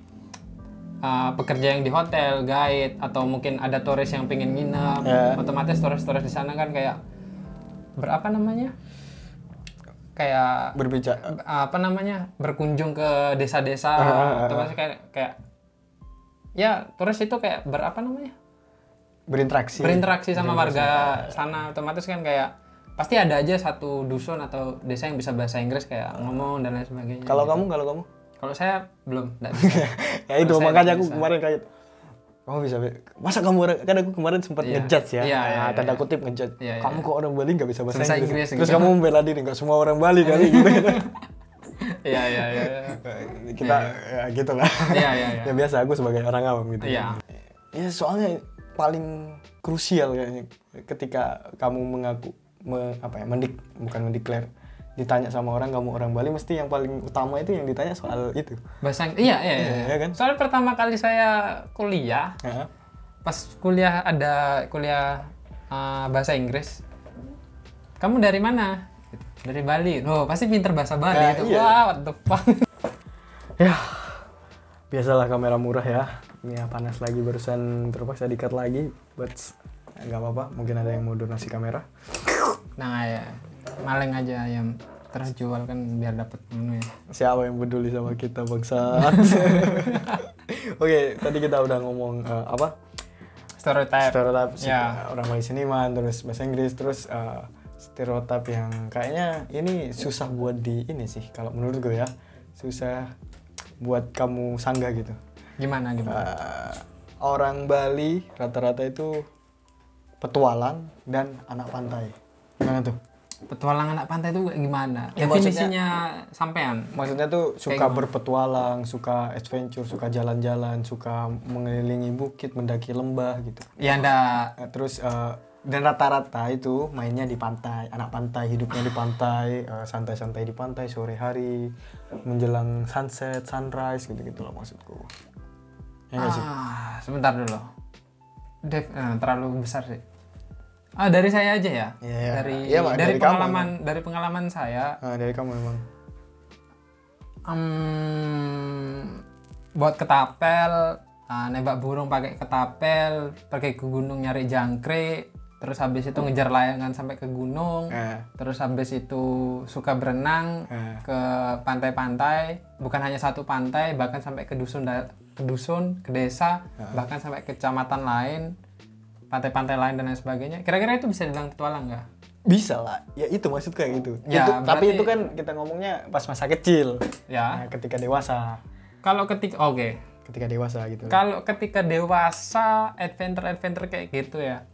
[SPEAKER 2] uh, pekerja yang di hotel, guide atau mungkin ada turis yang pengen nginep,
[SPEAKER 1] Ya.
[SPEAKER 2] otomatis turis-turis di sana kan kayak berapa namanya? Kayak
[SPEAKER 1] Berbicara
[SPEAKER 2] apa namanya berkunjung ke desa-desa
[SPEAKER 1] Ah, ah, ah,
[SPEAKER 2] atau maksudnya kayak kayak ya turis itu kayak berapa namanya
[SPEAKER 1] berinteraksi.
[SPEAKER 2] berinteraksi sama warga sana otomatis kan kayak pasti ada aja satu dusun atau desa yang bisa bahasa Inggris kayak ngomong dan lain sebagainya
[SPEAKER 1] Kalau kamu, kalau kamu?
[SPEAKER 2] kalau saya belum nggak bisa.
[SPEAKER 1] ya itu
[SPEAKER 2] saya
[SPEAKER 1] makanya
[SPEAKER 2] nggak
[SPEAKER 1] aku
[SPEAKER 2] bisa.
[SPEAKER 1] kemarin kayak kamu bisa Be?" masa kamu orang- kan aku kemarin sempat
[SPEAKER 2] Iya.
[SPEAKER 1] ngejudge ya
[SPEAKER 2] Iya, iya,
[SPEAKER 1] Nah,
[SPEAKER 2] iya,
[SPEAKER 1] tanda
[SPEAKER 2] iya.
[SPEAKER 1] kutip ngejudge
[SPEAKER 2] Iya, iya.
[SPEAKER 1] kamu kok orang Bali nggak bisa bahasa
[SPEAKER 2] Bahasa
[SPEAKER 1] Inggris,
[SPEAKER 2] Inggris,
[SPEAKER 1] terus
[SPEAKER 2] gitu.
[SPEAKER 1] kamu membela diri nggak semua orang Bali kali gitu
[SPEAKER 2] iya iya iya
[SPEAKER 1] kita ya gitu lah
[SPEAKER 2] Iya, iya, iya.
[SPEAKER 1] ya biasa aku sebagai orang awam gitu
[SPEAKER 2] Iya.
[SPEAKER 1] ya soalnya paling krusial kayaknya ketika kamu mengaku me- apa ya mendik bukan mendeklar ditanya sama orang kamu orang Bali mesti yang paling utama itu yang ditanya soal itu
[SPEAKER 2] bahasa Ing- iya iya, iya.
[SPEAKER 1] Iya, iya kan?
[SPEAKER 2] soalnya pertama kali saya kuliah
[SPEAKER 1] Heeh.
[SPEAKER 2] pas kuliah ada kuliah eh, bahasa Inggris kamu dari mana Gitu. dari Bali oh pasti pinter bahasa Bali
[SPEAKER 1] Nah,
[SPEAKER 2] itu
[SPEAKER 1] iya.
[SPEAKER 2] wah what the fuck
[SPEAKER 1] ya biasalah kamera murah ya ini ya, panas lagi barusan terpaksa dikat lagi but nggak apa-apa mungkin ada yang mau donasi kamera
[SPEAKER 2] nah ya maling aja yang terjual kan biar dapat menu ya
[SPEAKER 1] siapa yang peduli sama kita bangsa oke tadi kita udah ngomong eh, apa
[SPEAKER 2] stereotype
[SPEAKER 1] stereotip si-
[SPEAKER 2] Eh, Ya.
[SPEAKER 1] orang Bali seniman terus bahasa Inggris terus eh, stereotip yang kayaknya ini susah buat di ini sih kalau menurut gue ya susah buat kamu sanggah gitu
[SPEAKER 2] gimana gimana
[SPEAKER 1] Eh, orang Bali rata-rata itu petualang dan anak pantai gimana tuh
[SPEAKER 2] petualang anak pantai itu gimana
[SPEAKER 1] Ya,
[SPEAKER 2] definisinya sampean
[SPEAKER 1] maksudnya tuh suka berpetualang suka adventure suka jalan-jalan suka mengelilingi bukit mendaki lembah gitu
[SPEAKER 2] ya anda
[SPEAKER 1] Eh, terus eh, dan rata-rata itu mainnya di pantai anak pantai hidupnya di pantai eh, santai-santai di pantai sore hari menjelang sunset sunrise gitu gitu loh maksudku ya nggak sih
[SPEAKER 2] Ah, sebentar dulu. Dev, eh, terlalu besar sih. Ah, dari saya aja ya.
[SPEAKER 1] Iya, iya.
[SPEAKER 2] Dari
[SPEAKER 1] Iya, Mak,
[SPEAKER 2] dari,
[SPEAKER 1] dari kamu,
[SPEAKER 2] pengalaman dari pengalaman saya
[SPEAKER 1] Ah, dari kamu emang
[SPEAKER 2] em, buat ketapel, ah, nembak burung pakai ketapel, pergi ke gunung nyari jangkrik, terus habis itu ngejar layangan sampai ke gunung,
[SPEAKER 1] eh,
[SPEAKER 2] terus habis itu suka berenang
[SPEAKER 1] eh.
[SPEAKER 2] ke pantai-pantai, bukan hanya satu pantai, bahkan sampai ke dusun da- ke dusun, ke desa, bahkan sampai ke kecamatan lain, pantai-pantai lain dan lain sebagainya. Kira-kira itu bisa dibilang petualang nggak?
[SPEAKER 1] bisa lah ya itu maksud kayak gitu
[SPEAKER 2] Ya,
[SPEAKER 1] Itu- tapi
[SPEAKER 2] berarti-
[SPEAKER 1] itu kan kita ngomongnya pas masa kecil
[SPEAKER 2] Ya.
[SPEAKER 1] Nah, ketika dewasa
[SPEAKER 2] Kalau ketika oke,
[SPEAKER 1] ketika dewasa gitu
[SPEAKER 2] kalau ketika dewasa adventure-adventure kayak gitu ya.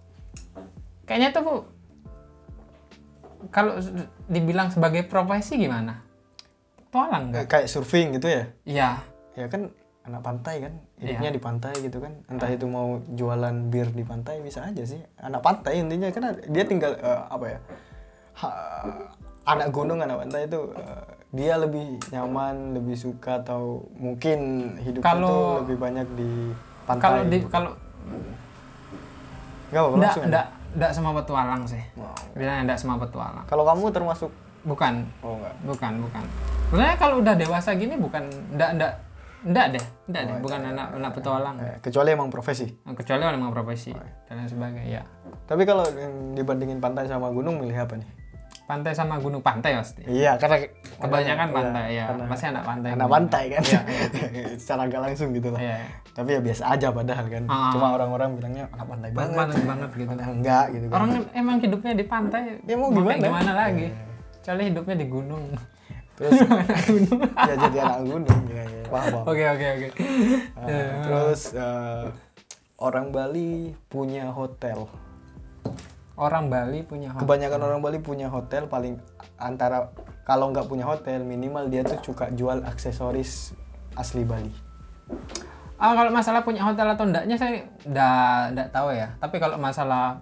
[SPEAKER 2] Kayaknya tuh Bu, kalau s- dibilang sebagai profesi gimana? Petualang nggak?
[SPEAKER 1] Eh, kayak surfing gitu ya
[SPEAKER 2] Iya.
[SPEAKER 1] ya kan anak pantai kan hidupnya di pantai gitu kan entah itu mau jualan bir di pantai bisa aja sih anak pantai intinya karena dia tinggal eh, apa ya ha- anak gunung anak pantai itu eh, dia lebih nyaman lebih suka atau mungkin hidupnya
[SPEAKER 2] Kalau-
[SPEAKER 1] tuh lebih banyak di pantai
[SPEAKER 2] Kalau di kalau
[SPEAKER 1] Nggak apa-apa,
[SPEAKER 2] ndak
[SPEAKER 1] langsung ya?
[SPEAKER 2] ndak ndak semua petualang sih.
[SPEAKER 1] Wow.
[SPEAKER 2] Bilangnya ndak semua petualang.
[SPEAKER 1] kalau kamu termasuk
[SPEAKER 2] Bukan,
[SPEAKER 1] oh enggak
[SPEAKER 2] bukan, bukan. Sebenarnya kalau udah dewasa gini bukan ndak ndak ndak deh, ndak
[SPEAKER 1] Oh,
[SPEAKER 2] deh, bukan
[SPEAKER 1] iya,
[SPEAKER 2] anak anak petualang. Nah,
[SPEAKER 1] Eh, kecuali emang profesi
[SPEAKER 2] Kecuali orang yang profesi
[SPEAKER 1] Oh, iya.
[SPEAKER 2] dan lain sebagainya. Ya.
[SPEAKER 1] tapi kalau yang dibandingin pantai sama gunung milih apa nih
[SPEAKER 2] Pantai sama gunung pantai pasti.
[SPEAKER 1] iya karena
[SPEAKER 2] Kebanyakan
[SPEAKER 1] karena-
[SPEAKER 2] pantai ya,
[SPEAKER 1] Iya, karena-
[SPEAKER 2] masih anak pantai.
[SPEAKER 1] anak pantai kan secara nggak langsung gitu lah
[SPEAKER 2] Iya.
[SPEAKER 1] tapi ya biasa aja padahal kan
[SPEAKER 2] Ah.
[SPEAKER 1] cuma orang-orang bilangnya anak pantai
[SPEAKER 2] Banget
[SPEAKER 1] banget
[SPEAKER 2] banget, banget gitu.
[SPEAKER 1] Padahal enggak gitu kan
[SPEAKER 2] Orang emang hidupnya di pantai.
[SPEAKER 1] Ya, mau
[SPEAKER 2] kayak
[SPEAKER 1] gimana? Iya,
[SPEAKER 2] Gimana lagi? Kecuali hidupnya di gunung.
[SPEAKER 1] terus ya jadi anak gunung ya, ya. Paham, paham.
[SPEAKER 2] Oke, oke, oke. Iya.
[SPEAKER 1] Ah, terus eh, orang Bali punya hotel
[SPEAKER 2] Orang Bali punya hotel.
[SPEAKER 1] kebanyakan orang Bali punya hotel paling antara kalau nggak punya hotel minimal dia tuh suka jual aksesoris asli Bali
[SPEAKER 2] Ah, kalau masalah punya hotel atau enggaknya saya enggak enggak tahu ya. Tapi kalau masalah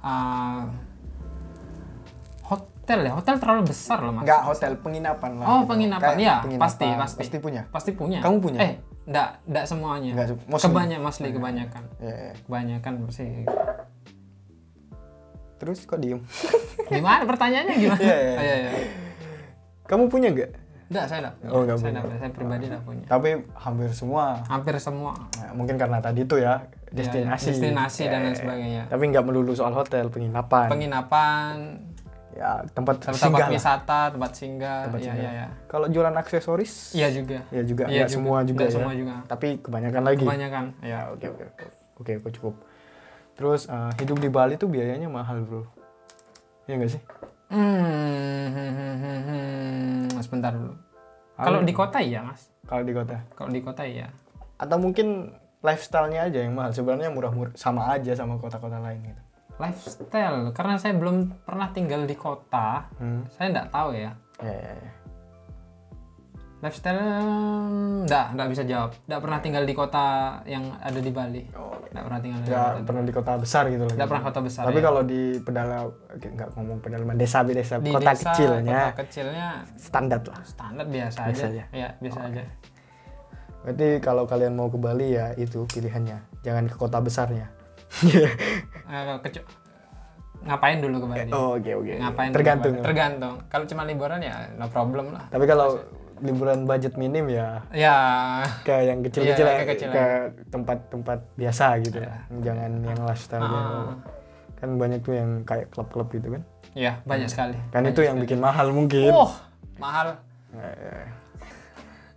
[SPEAKER 2] ah, hotel ya, hotel terlalu besar loh, Mas.
[SPEAKER 1] nggak hotel penginapan lah
[SPEAKER 2] Oh,
[SPEAKER 1] gitu.
[SPEAKER 2] penginapan
[SPEAKER 1] Kayak
[SPEAKER 2] ya,
[SPEAKER 1] penginapan,
[SPEAKER 2] pasti, pasti.
[SPEAKER 1] pasti punya
[SPEAKER 2] Pasti punya.
[SPEAKER 1] Kamu punya?
[SPEAKER 2] Eh, enggak enggak semuanya.
[SPEAKER 1] Nggak se- mostly.
[SPEAKER 2] Kebanyakan mostly kebanyakan.
[SPEAKER 1] Ya, ya.
[SPEAKER 2] Kebanyakan bersih.
[SPEAKER 1] terus kok diem
[SPEAKER 2] Gimana pertanyaannya gimana?
[SPEAKER 1] Iya, iya.
[SPEAKER 2] Oh, iya, iya.
[SPEAKER 1] kamu punya nggak
[SPEAKER 2] Enggak, saya enggak.
[SPEAKER 1] Oh, nggak
[SPEAKER 2] saya
[SPEAKER 1] punya.
[SPEAKER 2] enggak, saya pribadi enggak punya.
[SPEAKER 1] tapi hampir semua
[SPEAKER 2] Hampir semua
[SPEAKER 1] Nah, mungkin karena tadi itu ya
[SPEAKER 2] Iya, iya.
[SPEAKER 1] destinasi Iya,
[SPEAKER 2] destinasi dan lain sebagainya.
[SPEAKER 1] tapi nggak melulu soal hotel penginapan
[SPEAKER 2] Penginapan,
[SPEAKER 1] ya tempat
[SPEAKER 2] tempat
[SPEAKER 1] singgah lah.
[SPEAKER 2] wisata, tempat singgah,
[SPEAKER 1] Tempat
[SPEAKER 2] iya,
[SPEAKER 1] singgah.
[SPEAKER 2] iya, iya.
[SPEAKER 1] kalau jualan aksesoris
[SPEAKER 2] Iya juga.
[SPEAKER 1] ya juga
[SPEAKER 2] Iya
[SPEAKER 1] nggak semua juga
[SPEAKER 2] Nggak
[SPEAKER 1] ya
[SPEAKER 2] semua juga.
[SPEAKER 1] tapi kebanyakan lagi
[SPEAKER 2] Kebanyakan.
[SPEAKER 1] ya
[SPEAKER 2] Ya.
[SPEAKER 1] oke oke oke. oke oke, cukup terus eh, hidup di Bali tuh biayanya mahal bro Iya nggak sih
[SPEAKER 2] Hmm, sebentar dulu. Kalau di kota iya, Mas.
[SPEAKER 1] kalau di kota
[SPEAKER 2] Kalau di kota iya.
[SPEAKER 1] atau mungkin lifestyle-nya aja yang mahal sebenarnya murah-murah sama aja sama kota-kota lain gitu
[SPEAKER 2] Lifestyle, karena saya belum pernah tinggal di kota,
[SPEAKER 1] hmm.
[SPEAKER 2] Iya, saya nggak tahu ya.
[SPEAKER 1] ya, ya, ya.
[SPEAKER 2] Lifestyle enggak, enggak bisa jawab. Enggak pernah tinggal di kota yang ada di Bali. Enggak pernah tinggal
[SPEAKER 1] Oh,
[SPEAKER 2] di
[SPEAKER 1] iya. Nggak pernah di kota besar gitu loh.
[SPEAKER 2] Enggak Iya, pernah kota besar.
[SPEAKER 1] Tapi
[SPEAKER 2] ya.
[SPEAKER 1] kalau di pedala nggak ngomong pedalaman desa desa
[SPEAKER 2] Di
[SPEAKER 1] kota
[SPEAKER 2] desa,
[SPEAKER 1] kecilnya
[SPEAKER 2] Kota kecilnya
[SPEAKER 1] standar lah.
[SPEAKER 2] standar biasa,
[SPEAKER 1] Biasa
[SPEAKER 2] aja.
[SPEAKER 1] aja.
[SPEAKER 2] Iya, biasa aja.
[SPEAKER 1] Berarti kalau kalian mau ke Bali ya itu pilihannya. Jangan ke kota besarnya.
[SPEAKER 2] Eh, kalau kecu- ngapain dulu ke Bali?
[SPEAKER 1] oh, oke oke.
[SPEAKER 2] ngapain dulu
[SPEAKER 1] Tergantung.
[SPEAKER 2] ke Bali? Tergantung. Kalau cuma liburan ya no problem lah.
[SPEAKER 1] Tapi kalau liburan budget minim ya
[SPEAKER 2] Ya,
[SPEAKER 1] ke yang kecil-kecil
[SPEAKER 2] Iya,
[SPEAKER 1] ya,
[SPEAKER 2] ke kecil
[SPEAKER 1] ke tempat-tempat biasa gitu.
[SPEAKER 2] Iya.
[SPEAKER 1] Jangan yang lifestyle yang-
[SPEAKER 2] Ah.
[SPEAKER 1] kan banyak tuh yang kayak klub-klub gitu kan.
[SPEAKER 2] ya banyak sekali.
[SPEAKER 1] Kan itu yang bikin mahal mungkin.
[SPEAKER 2] Oh, mahal.
[SPEAKER 1] Nah, ya.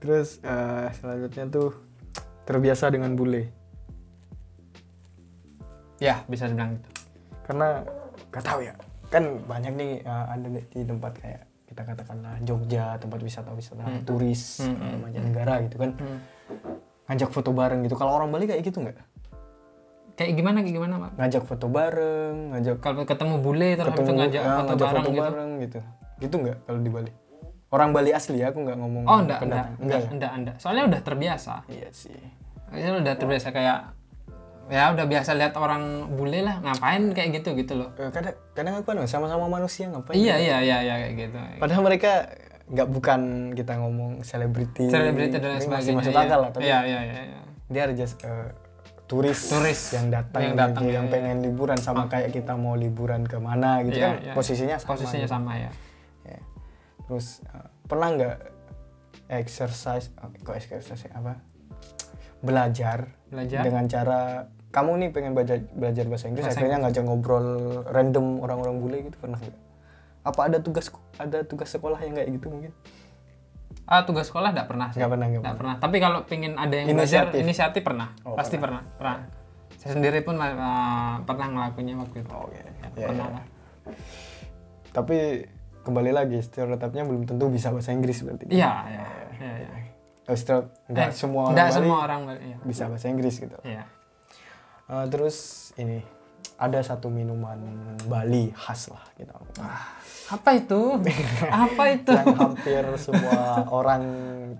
[SPEAKER 1] Terus eh, selanjutnya tuh terbiasa dengan bule.
[SPEAKER 2] Ya, bisa dibilang gitu.
[SPEAKER 1] Karena gak tahu ya. Kan banyak nih eh, ada di- di tempat kayak kita katakanlah Jogja, tempat wisata-wisata turis
[SPEAKER 2] Hmm,
[SPEAKER 1] eh, mancanegara gitu kan.
[SPEAKER 2] Hmm.
[SPEAKER 1] Ngajak foto bareng gitu. Kalau orang Bali kayak gitu nggak?
[SPEAKER 2] Kayak gimana kayak gimana, Pak?
[SPEAKER 1] Ngajak foto bareng, ngajak
[SPEAKER 2] Kalau ketemu bule terus habis itu
[SPEAKER 1] ketemu,
[SPEAKER 2] ngajak
[SPEAKER 1] ah,
[SPEAKER 2] foto
[SPEAKER 1] ngajak
[SPEAKER 2] bareng gitu.
[SPEAKER 1] bareng gitu. Gitu nggak kalau di Bali? Orang Bali asli ya, aku nggak ngomong
[SPEAKER 2] Oh, enggak, enggak,
[SPEAKER 1] pendatang.
[SPEAKER 2] enggak,
[SPEAKER 1] ya?
[SPEAKER 2] enggak, enggak. Soalnya udah terbiasa.
[SPEAKER 1] Iya sih.
[SPEAKER 2] Soalnya
[SPEAKER 1] Oh.
[SPEAKER 2] udah terbiasa kayak ya udah biasa lihat orang bule lah ngapain kayak gitu gitu loh.
[SPEAKER 1] Eh, kadang, kadang aku anu, sama-sama manusia ngapain?
[SPEAKER 2] Iya, iya, iya, iya kayak gitu.
[SPEAKER 1] Padahal mereka nggak bukan kita ngomong selebriti.
[SPEAKER 2] Selebriti dan lain
[SPEAKER 1] Tapi
[SPEAKER 2] sebagainya.
[SPEAKER 1] Masih masuk
[SPEAKER 2] iya.
[SPEAKER 1] akal lah, tapi
[SPEAKER 2] Iya, iya, iya. iya.
[SPEAKER 1] dia ada just eh, turis,
[SPEAKER 2] Turis
[SPEAKER 1] yang datang,
[SPEAKER 2] yang
[SPEAKER 1] yang,
[SPEAKER 2] datang,
[SPEAKER 1] yang
[SPEAKER 2] iya,
[SPEAKER 1] pengen liburan sama kayak kita mau liburan kemana gitu
[SPEAKER 2] Iya,
[SPEAKER 1] kan
[SPEAKER 2] iya.
[SPEAKER 1] posisinya sama.
[SPEAKER 2] Posisinya sama ya.
[SPEAKER 1] Ya. Terus eh, pernah nggak exercise, eh, kok exercise ya, apa? Belajar,
[SPEAKER 2] Belajar.
[SPEAKER 1] dengan cara kamu nih pengen belajar belajar bahasa Inggris
[SPEAKER 2] Bahasa
[SPEAKER 1] akhirnya ngajak ngobrol random orang-orang bule gitu pernah nggak? Apa ada tugas ada tugas sekolah yang kayak gitu mungkin?
[SPEAKER 2] Ah, tugas sekolah enggak pernah sih.
[SPEAKER 1] Nggak pernah nggak
[SPEAKER 2] Nggak
[SPEAKER 1] pernah.
[SPEAKER 2] pernah. Tapi kalau pengen ada yang belajar
[SPEAKER 1] Inisiatif.
[SPEAKER 2] inisiatif pernah.
[SPEAKER 1] Oh,
[SPEAKER 2] Pasti pernah. Pernah. Saya sendiri pun eh, pernah ngelakuinnya waktu itu.
[SPEAKER 1] Oke. Ya,
[SPEAKER 2] pernah
[SPEAKER 1] ya.
[SPEAKER 2] lah.
[SPEAKER 1] Tapi kembali lagi stereotipnya belum tentu bisa bahasa Inggris berarti.
[SPEAKER 2] Iya, iya, iya, iya.
[SPEAKER 1] Oh, stereo- nggak
[SPEAKER 2] Eh,
[SPEAKER 1] semua orang
[SPEAKER 2] Nggak
[SPEAKER 1] Bali
[SPEAKER 2] semua orang Bali. Iya.
[SPEAKER 1] bisa bahasa Inggris gitu.
[SPEAKER 2] Iya.
[SPEAKER 1] Eh, terus ini ada satu minuman Bali khas lah gitu.
[SPEAKER 2] Apa itu? Apa itu?
[SPEAKER 1] yang hampir semua orang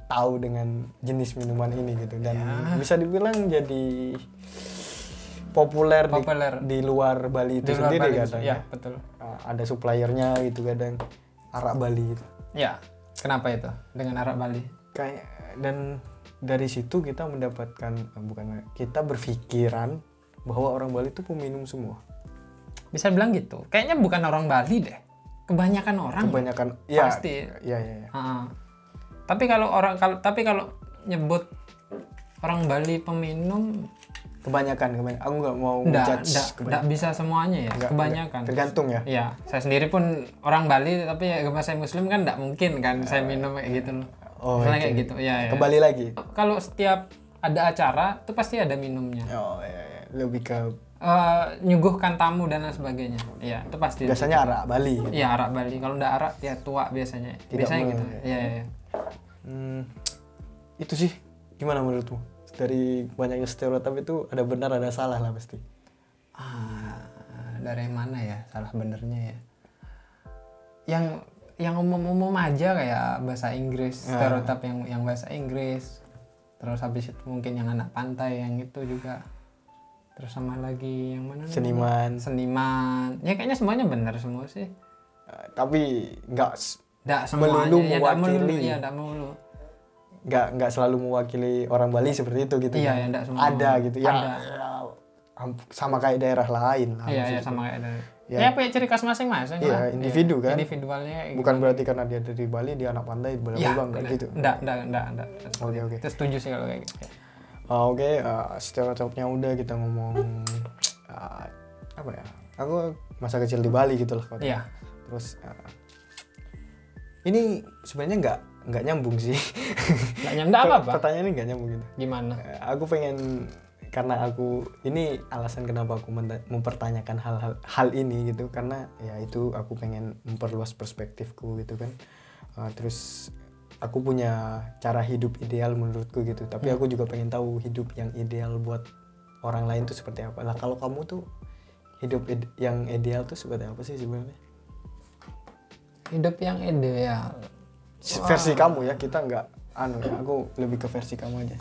[SPEAKER 1] tahu dengan jenis minuman ini gitu dan bisa dibilang jadi populer, di-
[SPEAKER 2] Populer.
[SPEAKER 1] Di, luar Bali itu
[SPEAKER 2] Di luar
[SPEAKER 1] sendiri
[SPEAKER 2] Bali itu-
[SPEAKER 1] kadang
[SPEAKER 2] Iya,
[SPEAKER 1] ya.
[SPEAKER 2] betul.
[SPEAKER 1] Uh, ada suppliernya gitu kadang arak Bali gitu
[SPEAKER 2] Iya. Kenapa itu? Dengan Arab Bali.
[SPEAKER 1] kayak dan dari situ kita mendapatkan eh, bukan kita berpikiran bahwa orang Bali itu peminum semua
[SPEAKER 2] Bisa bilang gitu. Kayaknya bukan orang Bali deh. Kebanyakan orang.
[SPEAKER 1] kebanyakan ya
[SPEAKER 2] Pasti.
[SPEAKER 1] ya ya, ya.
[SPEAKER 2] Ah. Tapi kalau orang kalau tapi kalau nyebut orang Bali peminum
[SPEAKER 1] kebanyakan kebanyakan aku nggak mau
[SPEAKER 2] enggak
[SPEAKER 1] ngejudge kebanyakan.
[SPEAKER 2] bisa semuanya ya,
[SPEAKER 1] Nggak,
[SPEAKER 2] kebanyakan.
[SPEAKER 1] tergantung ya
[SPEAKER 2] Iya, saya sendiri pun orang Bali tapi ya karena saya muslim kan enggak mungkin kan saya minum kayak gitu loh.
[SPEAKER 1] Oh,
[SPEAKER 2] Misalnya
[SPEAKER 1] oke.
[SPEAKER 2] kayak gitu. Iya, iya.
[SPEAKER 1] kembali lagi
[SPEAKER 2] Kalau setiap ada acara tuh pasti ada minumnya.
[SPEAKER 1] Oh iya, iya. lebih ke
[SPEAKER 2] Eh, nyuguhkan tamu dan lain sebagainya. Iya, itu pasti.
[SPEAKER 1] biasanya arah Bali. gitu.
[SPEAKER 2] Iya, arak Bali. Kalau ndak arak ya tua biasanya. biasanya
[SPEAKER 1] mau-
[SPEAKER 2] gitu. Iya, iya. iya.
[SPEAKER 1] Hmm, itu sih gimana menurutmu? Dari banyaknya stereotip itu ada benar ada salah lah pasti.
[SPEAKER 2] Ah, dari mana ya salah benernya ya yang yang umum-umum aja kayak bahasa
[SPEAKER 1] Ah.
[SPEAKER 2] Inggris stereotip yang yang bahasa Inggris terus habis itu mungkin yang anak pantai yang itu juga terus sama lagi yang mana namanya?
[SPEAKER 1] Seniman,
[SPEAKER 2] seniman ya kayaknya semuanya bener semua sih
[SPEAKER 1] eh, tapi nggak s-
[SPEAKER 2] tidak semuanya
[SPEAKER 1] Melulu
[SPEAKER 2] ya tidak melulu
[SPEAKER 1] mewakili.
[SPEAKER 2] ya tidak melulu
[SPEAKER 1] nggak nggak selalu mewakili orang Bali seperti itu gitu.
[SPEAKER 2] Iya,
[SPEAKER 1] kan.
[SPEAKER 2] ya, nggak semua.
[SPEAKER 1] Ada gitu ya.
[SPEAKER 2] Ada.
[SPEAKER 1] ya, hamp- sama kayak daerah lain lah.
[SPEAKER 2] iya iya
[SPEAKER 1] Ah, maksudnya.
[SPEAKER 2] sama kayak dari
[SPEAKER 1] Iya.
[SPEAKER 2] ya punya ciri khas masing-masing
[SPEAKER 1] Iya,
[SPEAKER 2] lah.
[SPEAKER 1] individu kan.
[SPEAKER 2] individualnya kayak
[SPEAKER 1] Bukan berarti karena dia dari Bali dia anak pantai bla
[SPEAKER 2] gitu. ya,
[SPEAKER 1] bla bla nggak gitu.
[SPEAKER 2] enggak enggak enggak enggak
[SPEAKER 1] Oke oke.
[SPEAKER 2] Itu setuju sih kalau kayak gitu
[SPEAKER 1] Ah, Oke, eh, stereotipnya udah kita ngomong eh, apa ya? Aku masa kecil di Bali gitu lah. kalau-
[SPEAKER 2] Iya.
[SPEAKER 1] Terus eh, ini sebenarnya nggak nggak nyambung sih.
[SPEAKER 2] Nggak nyam- nggak apa-apa.
[SPEAKER 1] Pertanyaan ini nggak nyambung gitu.
[SPEAKER 2] Gimana?
[SPEAKER 1] Eh, aku pengen karena aku ini alasan kenapa aku menta- mempertanyakan hal-hal hal ini gitu karena ya itu aku pengen memperluas perspektifku gitu kan. Eh, terus aku punya cara hidup ideal menurutku gitu. Tapi aku juga pengen tahu hidup yang ideal buat orang lain tuh seperti apa. Lah kalau kamu tuh hidup id- yang ideal tuh seperti apa sih sebenarnya?
[SPEAKER 2] Hidup yang ideal.
[SPEAKER 1] versi kamu ya kita nggak anu ya, aku lebih ke versi kamu aja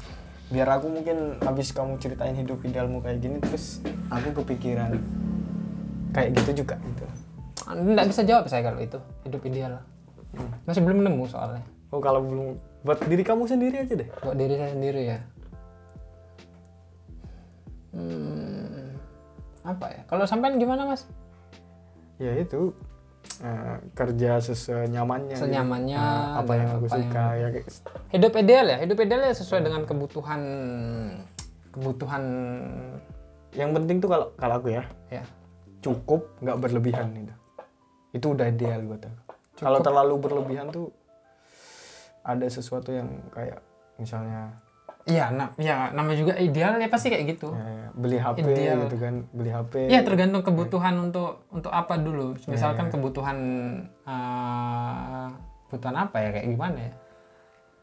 [SPEAKER 1] biar aku mungkin habis kamu ceritain hidup idealmu kayak gini terus aku kepikiran kayak gitu juga gitu
[SPEAKER 2] Nggak bisa jawab saya kalau itu hidup ideal. Masih belum nemu soalnya.
[SPEAKER 1] oh kalau belum buat diri kamu sendiri aja deh
[SPEAKER 2] Buat diri saya sendiri ya. Hmm, apa ya? Kalau sampean gimana mas?
[SPEAKER 1] ya itu eh, kerja sesenyamannya gitu.
[SPEAKER 2] Senyamannya,
[SPEAKER 1] Nah, apa
[SPEAKER 2] dan
[SPEAKER 1] yang aku
[SPEAKER 2] apa
[SPEAKER 1] suka ya kayak
[SPEAKER 2] Hidup ideal ya. Hidup ideal ya sesuai dengan kebutuhan kebutuhan
[SPEAKER 1] yang penting tuh kalau kalau aku ya
[SPEAKER 2] ya.
[SPEAKER 1] cukup nggak berlebihan itu itu udah ideal buat aku kalau terlalu berlebihan tuh ada sesuatu yang kayak misalnya
[SPEAKER 2] Iya, na- ya namanya juga ideal ya pasti kayak gitu.
[SPEAKER 1] eh, beli HP
[SPEAKER 2] Ideal.
[SPEAKER 1] gitu kan beli HP
[SPEAKER 2] Iya tergantung kebutuhan untuk untuk apa dulu.
[SPEAKER 1] Ya,
[SPEAKER 2] Misalkan kebutuhan eh, kebutuhan apa ya kayak gimana ya?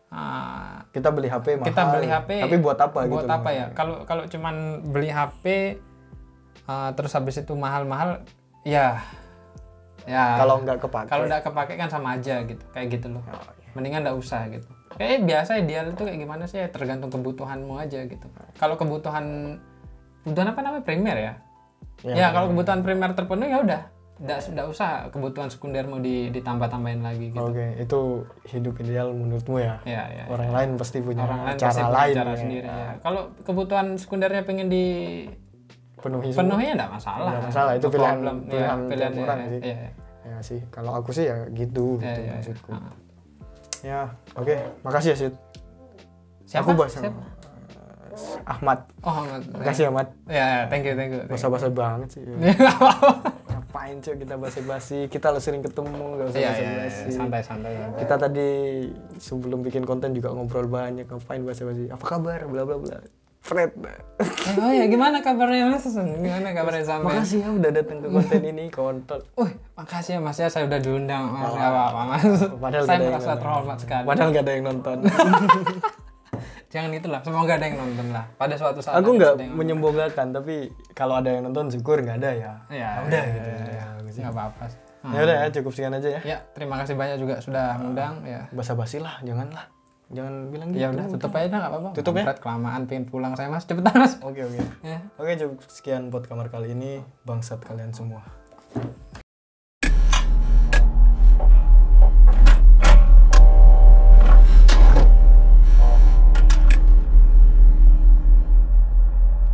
[SPEAKER 2] Ah,
[SPEAKER 1] kita beli HP mahal
[SPEAKER 2] kita beli HP.
[SPEAKER 1] tapi buat apa gitu
[SPEAKER 2] buat
[SPEAKER 1] loh.
[SPEAKER 2] apa ya? Kalau kalau cuman beli HP eh, terus habis itu mahal-mahal, ya ya.
[SPEAKER 1] kalau nggak kepake
[SPEAKER 2] kalau nggak kepake kan sama aja gitu kayak gitu loh.
[SPEAKER 1] Oh, iya.
[SPEAKER 2] Mendingan nggak usah gitu. Kayak biasa ideal itu kayak gimana sih? Ya, tergantung kebutuhanmu aja gitu. Kalau kebutuhan kebutuhan apa namanya primer ya? Ya, kalau kebutuhan primer terpenuhi ya udah. Nggak nggak usah kebutuhan sekunder mau di- ditambah-tambahin lagi gitu.
[SPEAKER 1] oke itu hidup ideal menurutmu ya
[SPEAKER 2] Ya, ya.
[SPEAKER 1] Oh. orang lain pasti punya
[SPEAKER 2] Orang lain
[SPEAKER 1] cara
[SPEAKER 2] pasti punya
[SPEAKER 1] lain
[SPEAKER 2] cara
[SPEAKER 1] ya.
[SPEAKER 2] sendiri ya. Kalau kebutuhan sekundernya pengen
[SPEAKER 1] penuhi
[SPEAKER 2] dipenuhi
[SPEAKER 1] semua.
[SPEAKER 2] ya nggak masalah.
[SPEAKER 1] Nggak masalah, itu
[SPEAKER 2] No
[SPEAKER 1] pilihan-
[SPEAKER 2] problem. Ya,
[SPEAKER 1] pilihan tiap
[SPEAKER 2] pilihan, ya,
[SPEAKER 1] orang
[SPEAKER 2] ya,
[SPEAKER 1] sih.
[SPEAKER 2] ya, ya.
[SPEAKER 1] ya sih kalau aku sih ya gitu
[SPEAKER 2] Ya,
[SPEAKER 1] gitu
[SPEAKER 2] ya, ya.
[SPEAKER 1] maksudku
[SPEAKER 2] Ah.
[SPEAKER 1] ya oke makasih ya Sid
[SPEAKER 2] Siapa?
[SPEAKER 1] aku bahas sama
[SPEAKER 2] Siapa?
[SPEAKER 1] Eh, Ahmad
[SPEAKER 2] Oh, Ahmad.
[SPEAKER 1] makasih Ahmad
[SPEAKER 2] Ya, ya, thank you, thank you. thank you.
[SPEAKER 1] basa-basa banget sih ya. ngapain cuy kita basa-basi kita lo sering ketemu gak usah
[SPEAKER 2] Iya, iya, iya,
[SPEAKER 1] basa-basi
[SPEAKER 2] santai, santai. ya.
[SPEAKER 1] kita tadi sebelum bikin konten juga ngobrol banyak ngapain basa-basi apa kabar bla bla bla Fred
[SPEAKER 2] Eh, oh ya, gimana kabarnya Mas? Gimana kabarnya sampai?
[SPEAKER 1] makasih ya udah datang ke konten ini kontol
[SPEAKER 2] Wih, makasih ya Mas ya, saya udah diundang. Mas, Nggak apa-apa Mas.
[SPEAKER 1] Padahal
[SPEAKER 2] saya
[SPEAKER 1] kita yang
[SPEAKER 2] merasa
[SPEAKER 1] datang.
[SPEAKER 2] terhormat sekali.
[SPEAKER 1] padahal gak ada yang nonton
[SPEAKER 2] Jangan itulah, semoga ada yang nonton lah. Pada suatu saat
[SPEAKER 1] aku
[SPEAKER 2] ada
[SPEAKER 1] nggak
[SPEAKER 2] yang nonton. Iya,
[SPEAKER 1] menyombongkan tapi kalau ada yang nonton syukur nggak ada ya
[SPEAKER 2] Ya,
[SPEAKER 1] udah
[SPEAKER 2] udah
[SPEAKER 1] gitu ya,
[SPEAKER 2] Nggak apa-apa. sih. Ah.
[SPEAKER 1] ya Ah. udah ya cukup sekian aja ya
[SPEAKER 2] Ya, terima kasih banyak juga sudah ngundang ya.
[SPEAKER 1] basa-basi lah janganlah jangan bilang gitu
[SPEAKER 2] Ya udah tutup aja dah, nggak apa-apa.
[SPEAKER 1] Tutup ya?
[SPEAKER 2] Kampret, kelamaan pengen pulang saya Mas. Cepetan Mas.
[SPEAKER 1] oke oke
[SPEAKER 2] Ya.
[SPEAKER 1] oke cukup sekian buat kamar kali ini bangsat kalian semua